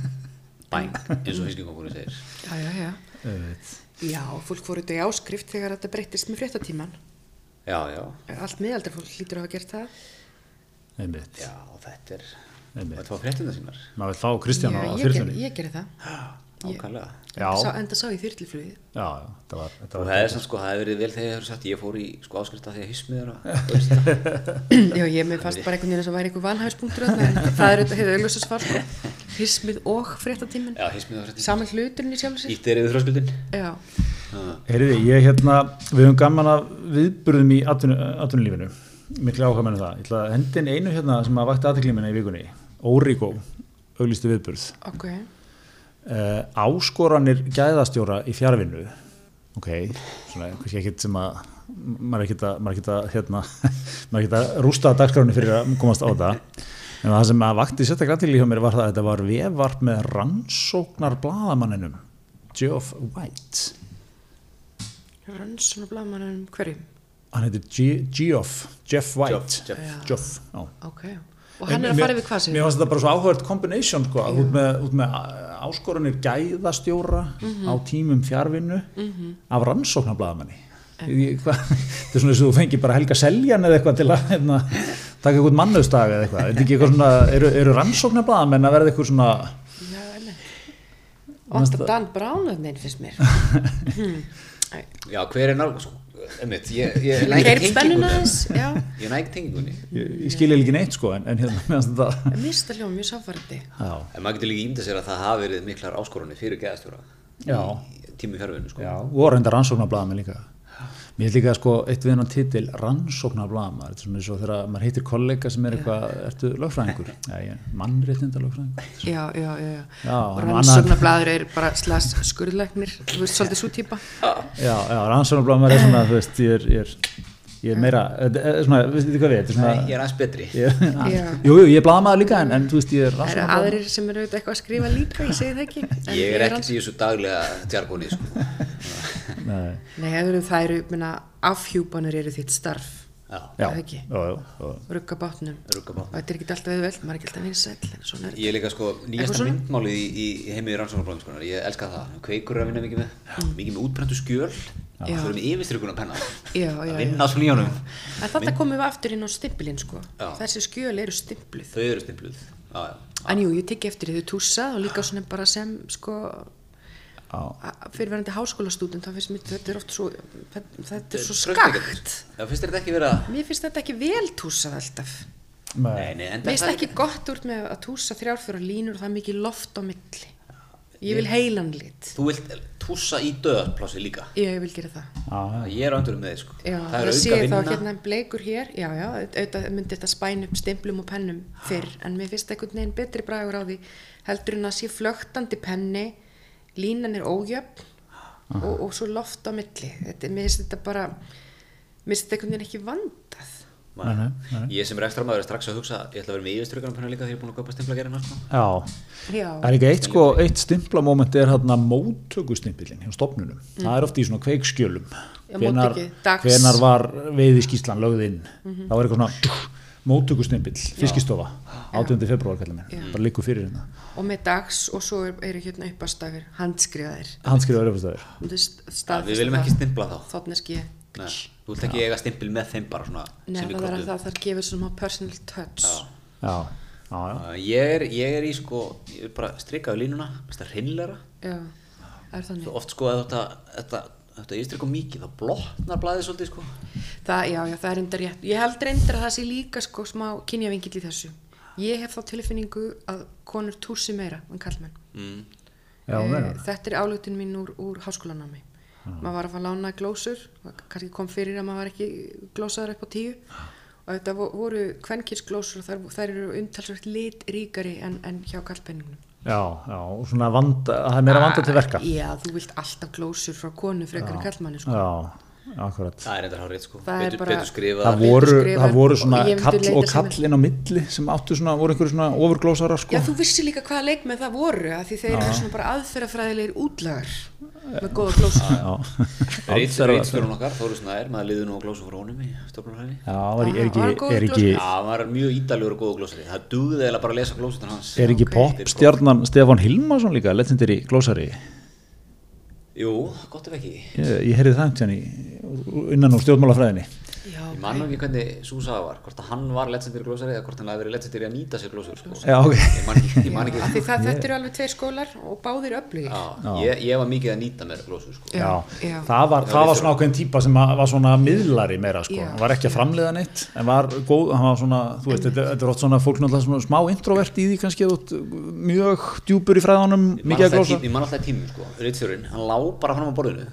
Speaker 3: bæn, eins og fiskingokkurinn segir
Speaker 2: Já, já, já Já, fólk voru þetta í áskrift þegar þetta breyttist með fréttatíman
Speaker 3: já, já,
Speaker 2: Allt miðaldar fólk hlýtur að hafa gert það
Speaker 1: einmitt,
Speaker 3: já, þetta er
Speaker 1: Einmitt.
Speaker 3: þetta var fréttina sínar
Speaker 1: maður vil fá Kristján á
Speaker 2: Já, ég, ger,
Speaker 1: þyrlunni já,
Speaker 2: ég gerði það
Speaker 3: ákvæmlega
Speaker 1: já,
Speaker 2: sá, Enda sá ég þyrliflugið
Speaker 1: já, þetta var, þetta
Speaker 3: og
Speaker 1: var
Speaker 3: það er sem sko, það hefur verið vel þegar ég hefur sagt ég fór í sko áskrifta þegar hismið er að austra.
Speaker 2: *clears throat* Já, ég með fast bara einhvern veginn sem væri einhver vanhæfspunktur þarna, en það er auðvitað hefur auðvitað svar sko. Hismið og fréttatíminn
Speaker 3: já, hismið er fréttina
Speaker 2: Saman hluturinn í sjálf sér
Speaker 3: ítt er yfir þröskuldin
Speaker 2: Já,
Speaker 1: Heyriði, ég hérna, við höfum gaman að viðburðum í atvinnu- atvinnulífinu, miklu áhuga mennum það. Ég ætla að hendin einu hérna sem að vakti aðteklimina í vikunni, Origo, auglistu viðburð.
Speaker 2: ok
Speaker 1: Uh, áskoranir gæðastjóra í fjárvinnu, ok, svona kannski ekkert sem að, maður er ekkert að, maður er ekkert að, hérna, *laughs* maður er ekkert að rústa dagskránu fyrir að komast á það. En það sem að vakti sérstaklega til í hjá mér var það að þetta var vefvart með rannsóknar blaðamanninum, Geoff White.
Speaker 2: Rönnsson og blamanum hverjum
Speaker 1: hann heitir G- Geoff, Jeff White
Speaker 3: Geoff, Jeff.
Speaker 2: Já.
Speaker 1: Geoff, já.
Speaker 2: Ok, og hann er að fara yfir hvað sem
Speaker 1: Mér finnst þetta bara svo áhverjt combination sko, að út með, út með uh, áskoranir gæðastjóra
Speaker 2: Mhm.
Speaker 1: á tímum fjárvinnu af rannsóknarblaðamanni
Speaker 2: Eh.
Speaker 1: Ég- hvað- *laughs* Þetta er svona eins og þú fengir bara helga seljan eða eitthvað til að hérna, taka eitthvað mannöðstag eða eitthvað, Er þetta ekki eitthvað svona, eru, eru rannsóknarblaðamenn að verða eitthvað svona
Speaker 2: Já, alveg Vant að Dan Brown að neinn finnst
Speaker 1: *laughs*
Speaker 2: mér Hmm. Æ,
Speaker 3: Já, hver er nálg, sko, einmitt, ég, ég næg
Speaker 2: Keir spennuna
Speaker 3: tengingunni.
Speaker 2: þess, já
Speaker 3: Ég næg tengingunni.
Speaker 1: ég, ég skilja ekki neitt sko en, en hérna, mér finnst þetta
Speaker 2: Mista hljóm, mjög sáfærandi
Speaker 1: Já,
Speaker 3: En maður getur líka ímda sér að það hafi verið miklar áskorunni fyrir geðastjóra.
Speaker 1: Já.
Speaker 3: Í Tími fjárvinu, sko.
Speaker 1: Já, og reyndar rannsóknarblaðamenn líka Mér er líka sko eitt við hennan titil rannsóknarblaðamenn, þetta er svona eins og þegar maður heitir kollega sem er eitthvað, ertu lögfræðingur? Já, ég, mannréttinda lögfræðingur
Speaker 2: Já, já, já,
Speaker 1: Já,
Speaker 2: já.
Speaker 1: hann
Speaker 2: rannsóknarblæður er bara slags skurðleiknir, þú veist, svolítið svo típa
Speaker 1: Já, já, rannsóknarblaðamenn er svona, þú veist, ég er, ég er ég er meira, þetta er svona, veistu þið hvað við, þetta er
Speaker 3: Nei, ég
Speaker 1: svona
Speaker 3: er aðeins betri
Speaker 1: *laughs* ég,
Speaker 2: Já.
Speaker 1: *laughs* jú, jú, ég er blaðmaður líka en, en þú veist, ég er
Speaker 2: Það eru
Speaker 1: rannsóknarmaður.
Speaker 2: aðrir sem eru auðvitað eitthvað að skrifa líka, ég segi það
Speaker 3: *laughs*
Speaker 2: ekki. en
Speaker 3: Ég er
Speaker 2: alls-
Speaker 3: ekkert í þessu daglega tjargóni sko.
Speaker 1: Nei.
Speaker 2: Nei, það eru, það eru, minna, afhjúpanur eru þitt starf,
Speaker 3: Já,
Speaker 1: Já,
Speaker 2: Það ekki.
Speaker 1: já, já, já.
Speaker 2: rugga bátnum.
Speaker 3: rugga bátnum.
Speaker 2: Og þetta er ekki alltaf auðvelt, maður er ekki alltaf vinsæll, en svona er
Speaker 3: Ég er líka sko
Speaker 2: Eitthvað
Speaker 3: nýjasta
Speaker 2: svona?
Speaker 3: myndmálið í, í heimið rannsóknarbróðum Ég elska það, kveikur er að vinna mikið með Mikið með útbrentu skjöl Það
Speaker 2: Já.
Speaker 3: fyrir með yfirstrykuna penna
Speaker 2: Já, já,
Speaker 3: Að
Speaker 2: já.
Speaker 3: vinna svona í honum
Speaker 2: En þetta komum við aftur inn á stimpilinn sko.
Speaker 3: Já.
Speaker 2: Þessi skjöl eru stimpluð.
Speaker 3: Þau eru stimpluð Já, já.
Speaker 2: En jú, ég tekki eftir því þau túsað og líka svona bara sem sko a- fyrirverandi háskólastúdent, þá finnst mér þetta er oft svo, þetta er svo skakt.
Speaker 3: Já, finnst þér þetta ekki vera
Speaker 2: Mér finnst þetta ekki vel túsað alltaf.
Speaker 1: Nei.
Speaker 3: Nei, nei, en
Speaker 2: Mér finnst
Speaker 3: það er
Speaker 2: ekki gott úr með að túsa þrjárfjóra línur og það er mikið loft á milli. Ég vil heilan lit.
Speaker 3: Þú vilt tússa í döðplássi líka
Speaker 2: Ég vil gera það.
Speaker 1: Já, já.
Speaker 3: Ég er á andurum með þið sko
Speaker 2: Já,
Speaker 3: Það er
Speaker 2: ég sé
Speaker 3: auka
Speaker 2: þá
Speaker 3: vinna
Speaker 2: hérna en bleikur hér, já, já, auðvitað myndi þetta spæna upp stimplum og pennum fyrr, en mér finnst einhvern veginn betri bragur á því heldur en að sé flögtandi penni, línan er ójöfn og, og svo loft á milli. Þetta, mér finnst þetta bara, mér finnst þetta einhvern veginn ekki vandað.
Speaker 3: Nei,
Speaker 1: Nei, nei.
Speaker 3: Ég sem rekstramæður er strax að hugsa Ég ætla að vera með yfirstrykunum penna líka þegar ég er búin að kaupa stimpla að sko.
Speaker 1: já.
Speaker 2: Já,
Speaker 1: Það er líka eitt, sko, eitt stimplamóment er hérna móttökustimpilin hjá stopnunum. Það er ofta í svona kveikskjölum.
Speaker 2: Mm. Já,
Speaker 1: Hvenær-
Speaker 2: móttökið, dags. Mhm.
Speaker 1: Hvenær var veiðiskíslan lögð inn? Það var eitthvað svona tjú, móttökustimpill, fiskistofa, 18. februar kallar mér, bara líku fyrir hérna.
Speaker 2: og með dags og svo er- eru hérna uppastafir, handskrifaðir.
Speaker 1: Handskrifaður uppastæður.
Speaker 2: Þú veist,
Speaker 3: Já,
Speaker 2: staðfesta
Speaker 3: Við viljum ekki stimpla þá
Speaker 2: Þóttneski,
Speaker 3: Nei, þú vilt ekki eiga stimpil með þeim bara svona
Speaker 2: nei,
Speaker 3: sem í
Speaker 2: það er að
Speaker 3: kroppnum.
Speaker 2: það, það gefur svona personal touch.
Speaker 1: Já, já, já.
Speaker 3: Uh, Ég er, ég er í sko, ég er bara strikkaðu línuna, mest að hreinleira.
Speaker 2: Já, það er þannig.
Speaker 3: Þú oft sko að þetta, þetta, þetta yfirstrikku mikið, þá blotnar blæðið svolítið sko.
Speaker 2: Það, já, já, það er reyndar rétt. Ég held reyndar að það sé líka sko smá kynjavingill í þessu. Ég hef þá tilfinningu að konur túsi meira en kallmenn.
Speaker 3: Mm.
Speaker 1: Já,
Speaker 2: Eh,
Speaker 1: meinar.
Speaker 2: þetta er álöktun mín úr, úr háskólanámi. Maður var að fá lána glósur, og kannski kom fyrir að maður var ekki glósaður upp á tíu og þetta vo- voru kvenkinsglósur og þær, þær eru umtalsvægt lit ríkari en, en hjá kallpenningnum.
Speaker 1: Já, já, og svona vanda, það er meira
Speaker 3: Ah.
Speaker 1: vanda til verka.
Speaker 2: Já, þú vilt alltaf glósur frá konu frekar en kallmanni sko.
Speaker 1: Já, akkurat.
Speaker 3: Það er þetta hárið sko,
Speaker 2: Það er
Speaker 3: betur,
Speaker 2: bara-
Speaker 3: betur skrifað.
Speaker 1: Það
Speaker 2: betur
Speaker 1: voru,
Speaker 2: skrifar
Speaker 1: það voru
Speaker 2: og
Speaker 1: svona
Speaker 2: ég myndi
Speaker 1: kall
Speaker 2: leita
Speaker 1: og
Speaker 2: sem
Speaker 1: kall inn á milli sem áttu svona, voru einhverju svona ofurglósarar sko.
Speaker 2: Já, þú vissi líka hvaða leikmenn það voru að því þeir eru svona bara aðferðafræðilegir útlagar með góða glósur.
Speaker 3: Rýtt,
Speaker 1: Allsherjar-
Speaker 3: rýttstjórun okkar, Þóru Snær, maður liður nú á glósum frá honum í stofnarhæði.
Speaker 1: Já, var,
Speaker 2: Ah,
Speaker 1: er ekki,
Speaker 2: var hann góður
Speaker 1: er ekki,
Speaker 3: Já, hann var mjög ídalegur og góð glósari. Það dugði eiginlega bara að lesa glósutan hans.
Speaker 1: er ekki
Speaker 2: Ok.
Speaker 1: popstjarnan Stefán Hilmarsson líka, legendary glósari.
Speaker 3: Jú, gott ef ekki.
Speaker 1: Ég, ég heyrði það hann í, innan úr stjórnmálafræðinni.
Speaker 2: Já,
Speaker 3: Ég man nú ekki hvernig Súsa var, hvort að hann var lettsendir glósari eða hvort hann hafi verið lettsendir að nýta sér glósur sko.
Speaker 1: Já, ok.
Speaker 3: Ég man ekki, ég man ekki.
Speaker 2: af því það, þetta eru alveg tveir skólar og báðir öflugir.
Speaker 3: Já, ég, ég var mikið að nýta mér glósur sko.
Speaker 1: Já,
Speaker 2: Já, já.
Speaker 1: það var, það var svona ákveðin típa sem að- var svona miðlari meira sko,
Speaker 2: Já,
Speaker 1: hann var ekki að framleiða neitt en var góð, hann var svona, þú veist þetta, þetta er oft svona fólk náttúrulega svona smá introvert í því kannski þú ert mjög djúpur í fræðanum,
Speaker 3: Ég man
Speaker 1: mikið að
Speaker 3: alltaf
Speaker 1: glósa
Speaker 3: tím- ég man alltaf tímum sko, Ritstjórinn, hann lá bara fram á borðinu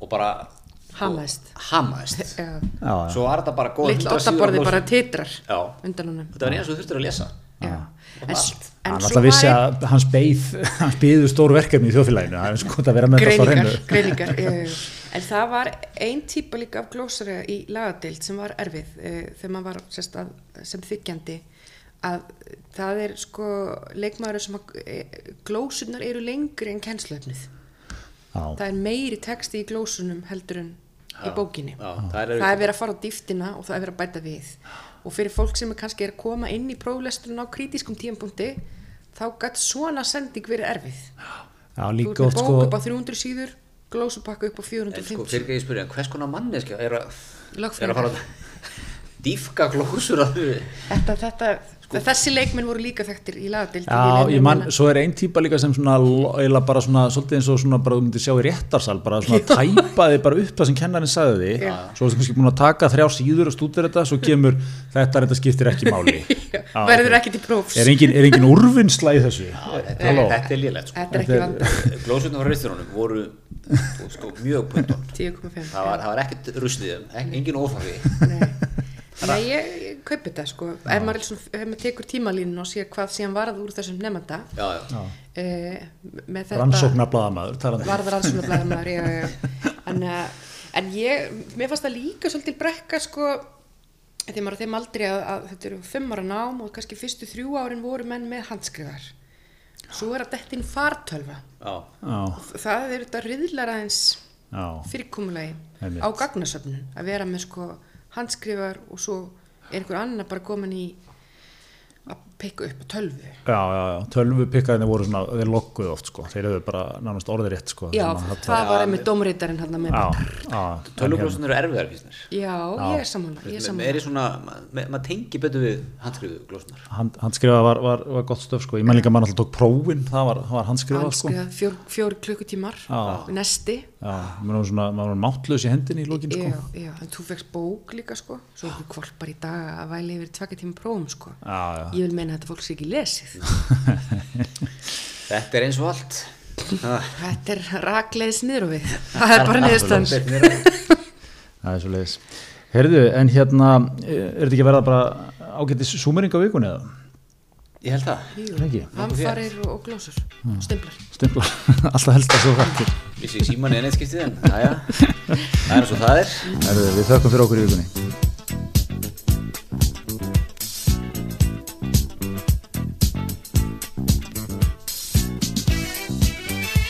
Speaker 3: og bara
Speaker 2: Hamaðist.
Speaker 3: og- hamaðist.
Speaker 1: Já,
Speaker 2: Já,
Speaker 1: já.
Speaker 3: Svo var þetta bara góð
Speaker 2: litla ottaborði bara titrar
Speaker 3: Já,
Speaker 2: undan honum.
Speaker 3: þetta var eins og þú þurftir að lesa
Speaker 2: Já, en, s- en
Speaker 1: hann
Speaker 2: svo
Speaker 1: alltaf vissi
Speaker 2: var
Speaker 1: að hans beið hans beiðu stór verkefni í þjóðfélaginu það er sko að vera með þetta á
Speaker 2: greiningar,
Speaker 1: hreinu
Speaker 2: greiningar. Uh, en það var ein típa líka af glósari í lagadeild sem var erfið uh, þegar maður var sérst, að, sem þykjandi að það er sko leikmaður sem að eh, glósurnar eru lengri en kennslefnið.
Speaker 1: já,
Speaker 2: það er meiri texti í glósunum heldur en í bókinni
Speaker 3: Já, það er
Speaker 2: það er verið að fara á dýftina og það er verið að bæta við og fyrir fólk sem er kannski er að koma inn í próflesturinn á krítiskum tímpunkti þá gætt svona sending verið erfið
Speaker 1: já,
Speaker 2: þú
Speaker 1: líka
Speaker 2: ert með
Speaker 1: oft
Speaker 2: bók
Speaker 1: sko
Speaker 2: upp á 300 síður glósupakka upp á
Speaker 3: En sko,
Speaker 2: 450
Speaker 3: fyrir ekki að ég spyrja, hvers konar manneskja er að er
Speaker 2: Lögfræðingar.
Speaker 3: að fara að dýfka glósur að þau
Speaker 2: þetta, þetta, Sko, þessi leikmenn voru líka þekktir í lagadildi
Speaker 1: Já, ég mann,
Speaker 2: *laughs*
Speaker 1: svo er ein típa líka sem svona, eila bara svona, svolítið eins og svona bara þú myndir sjá í réttarsal, bara svona tæpaði bara upp það sem kennarinn sagði því
Speaker 2: Já.
Speaker 1: svo er kannski búin að taka þrjá síður og stúdur þetta, svo kemur þetta reynda skiptir ekki
Speaker 2: *laughs*
Speaker 1: máli. Já,
Speaker 2: verður
Speaker 1: ok.
Speaker 2: ekki til prófs
Speaker 1: Er engin, er engin úrvinnsla í þessu? Eh,
Speaker 3: Þetta
Speaker 1: Halló?
Speaker 3: er- Eh, þetta er lélegt sko.
Speaker 2: þetta er ekki vanda
Speaker 3: Glósurnar frá Ritstjórnum voru sko, mjög pöntón
Speaker 2: 10,5
Speaker 3: Það var, það var ekkert ruslið, engin óþarfi.
Speaker 2: Nei,
Speaker 3: *laughs*
Speaker 2: Nei ég, ég kaupi þetta sko ef maður, er svona, ef maður tekur tímalínun og sér hvað síðan varð úr þessum nefnda
Speaker 3: Já, já.
Speaker 2: uh, með þetta
Speaker 1: Rannsóknarbladamaður, talandi.
Speaker 2: varð rannsóknarblæðamæður en, uh, en ég, mér fannst það líka svolítil brekka sko þegar maður er á þeim aldrei að, að þetta eru fimm ára nám og kannski fyrstu þrjú árin voru menn með handskrifar svo er að dettin fartölva
Speaker 3: Já,
Speaker 1: Já,
Speaker 2: það er þetta riðlar aðeins
Speaker 1: já,
Speaker 2: fyrirkomulagi
Speaker 1: Einmitt.
Speaker 2: á gagnasöfnun að vera með sko handskrifar og svo er einhver annar bara komin í að pekka upp á tölvu
Speaker 1: já, já, já. tölvu pikkaðinni voru svona, þeir lokkuðu oft sko, þeir hefðu bara nánast orðið rétt sko.
Speaker 2: já,
Speaker 1: þannig að
Speaker 2: það,
Speaker 1: þetta-
Speaker 2: var einmitt dómreitarinn hann með
Speaker 1: Já, já, en hérna-
Speaker 3: tölvuglósunar eru erfiðar fyrst mér.
Speaker 2: já, ég er sammála ég er
Speaker 3: Mér
Speaker 2: sammála
Speaker 3: er svona, ma- ma- maður tengi betur við handskrifu glósunar.
Speaker 1: Hand, handskrifa var, var, var gott stöf sko. ég menn líka að mann alltaf tók prófin það var, það var handskrifa,
Speaker 2: hanskriða, fjór, fjór klukkutímar
Speaker 1: sko- Já.
Speaker 2: nesti
Speaker 1: sko. já, maður var svona, maður var máttlaus í hendinni í lókin sko.
Speaker 2: já, já, en þú fegst bók líka sko svo okkur kvolpar í dag að væli yfir tvekja tíma prófum sko
Speaker 1: já, já,
Speaker 2: ég vil meina að þetta fólk sé ekki lesið
Speaker 3: Þetta er eins og
Speaker 2: *laughs*
Speaker 3: allt. Ah, Það
Speaker 2: þetta er rakleiðis niður og við það er bara niðurstand
Speaker 1: það er svo leiðis herðu, en hérna er þetta ekki að verða bara ágættis súmering á vikunni eða?
Speaker 3: Ég held það.
Speaker 1: Ekki. Hmm.
Speaker 2: hamfarir og og glósur og stimplar
Speaker 1: Stimpla, *laughs* alltaf helst að svo hrættir
Speaker 3: Vissi ég símanni en einskiptið en, aðja. Það er eins og það er.
Speaker 1: við þökkum fyrir okkur í vikunni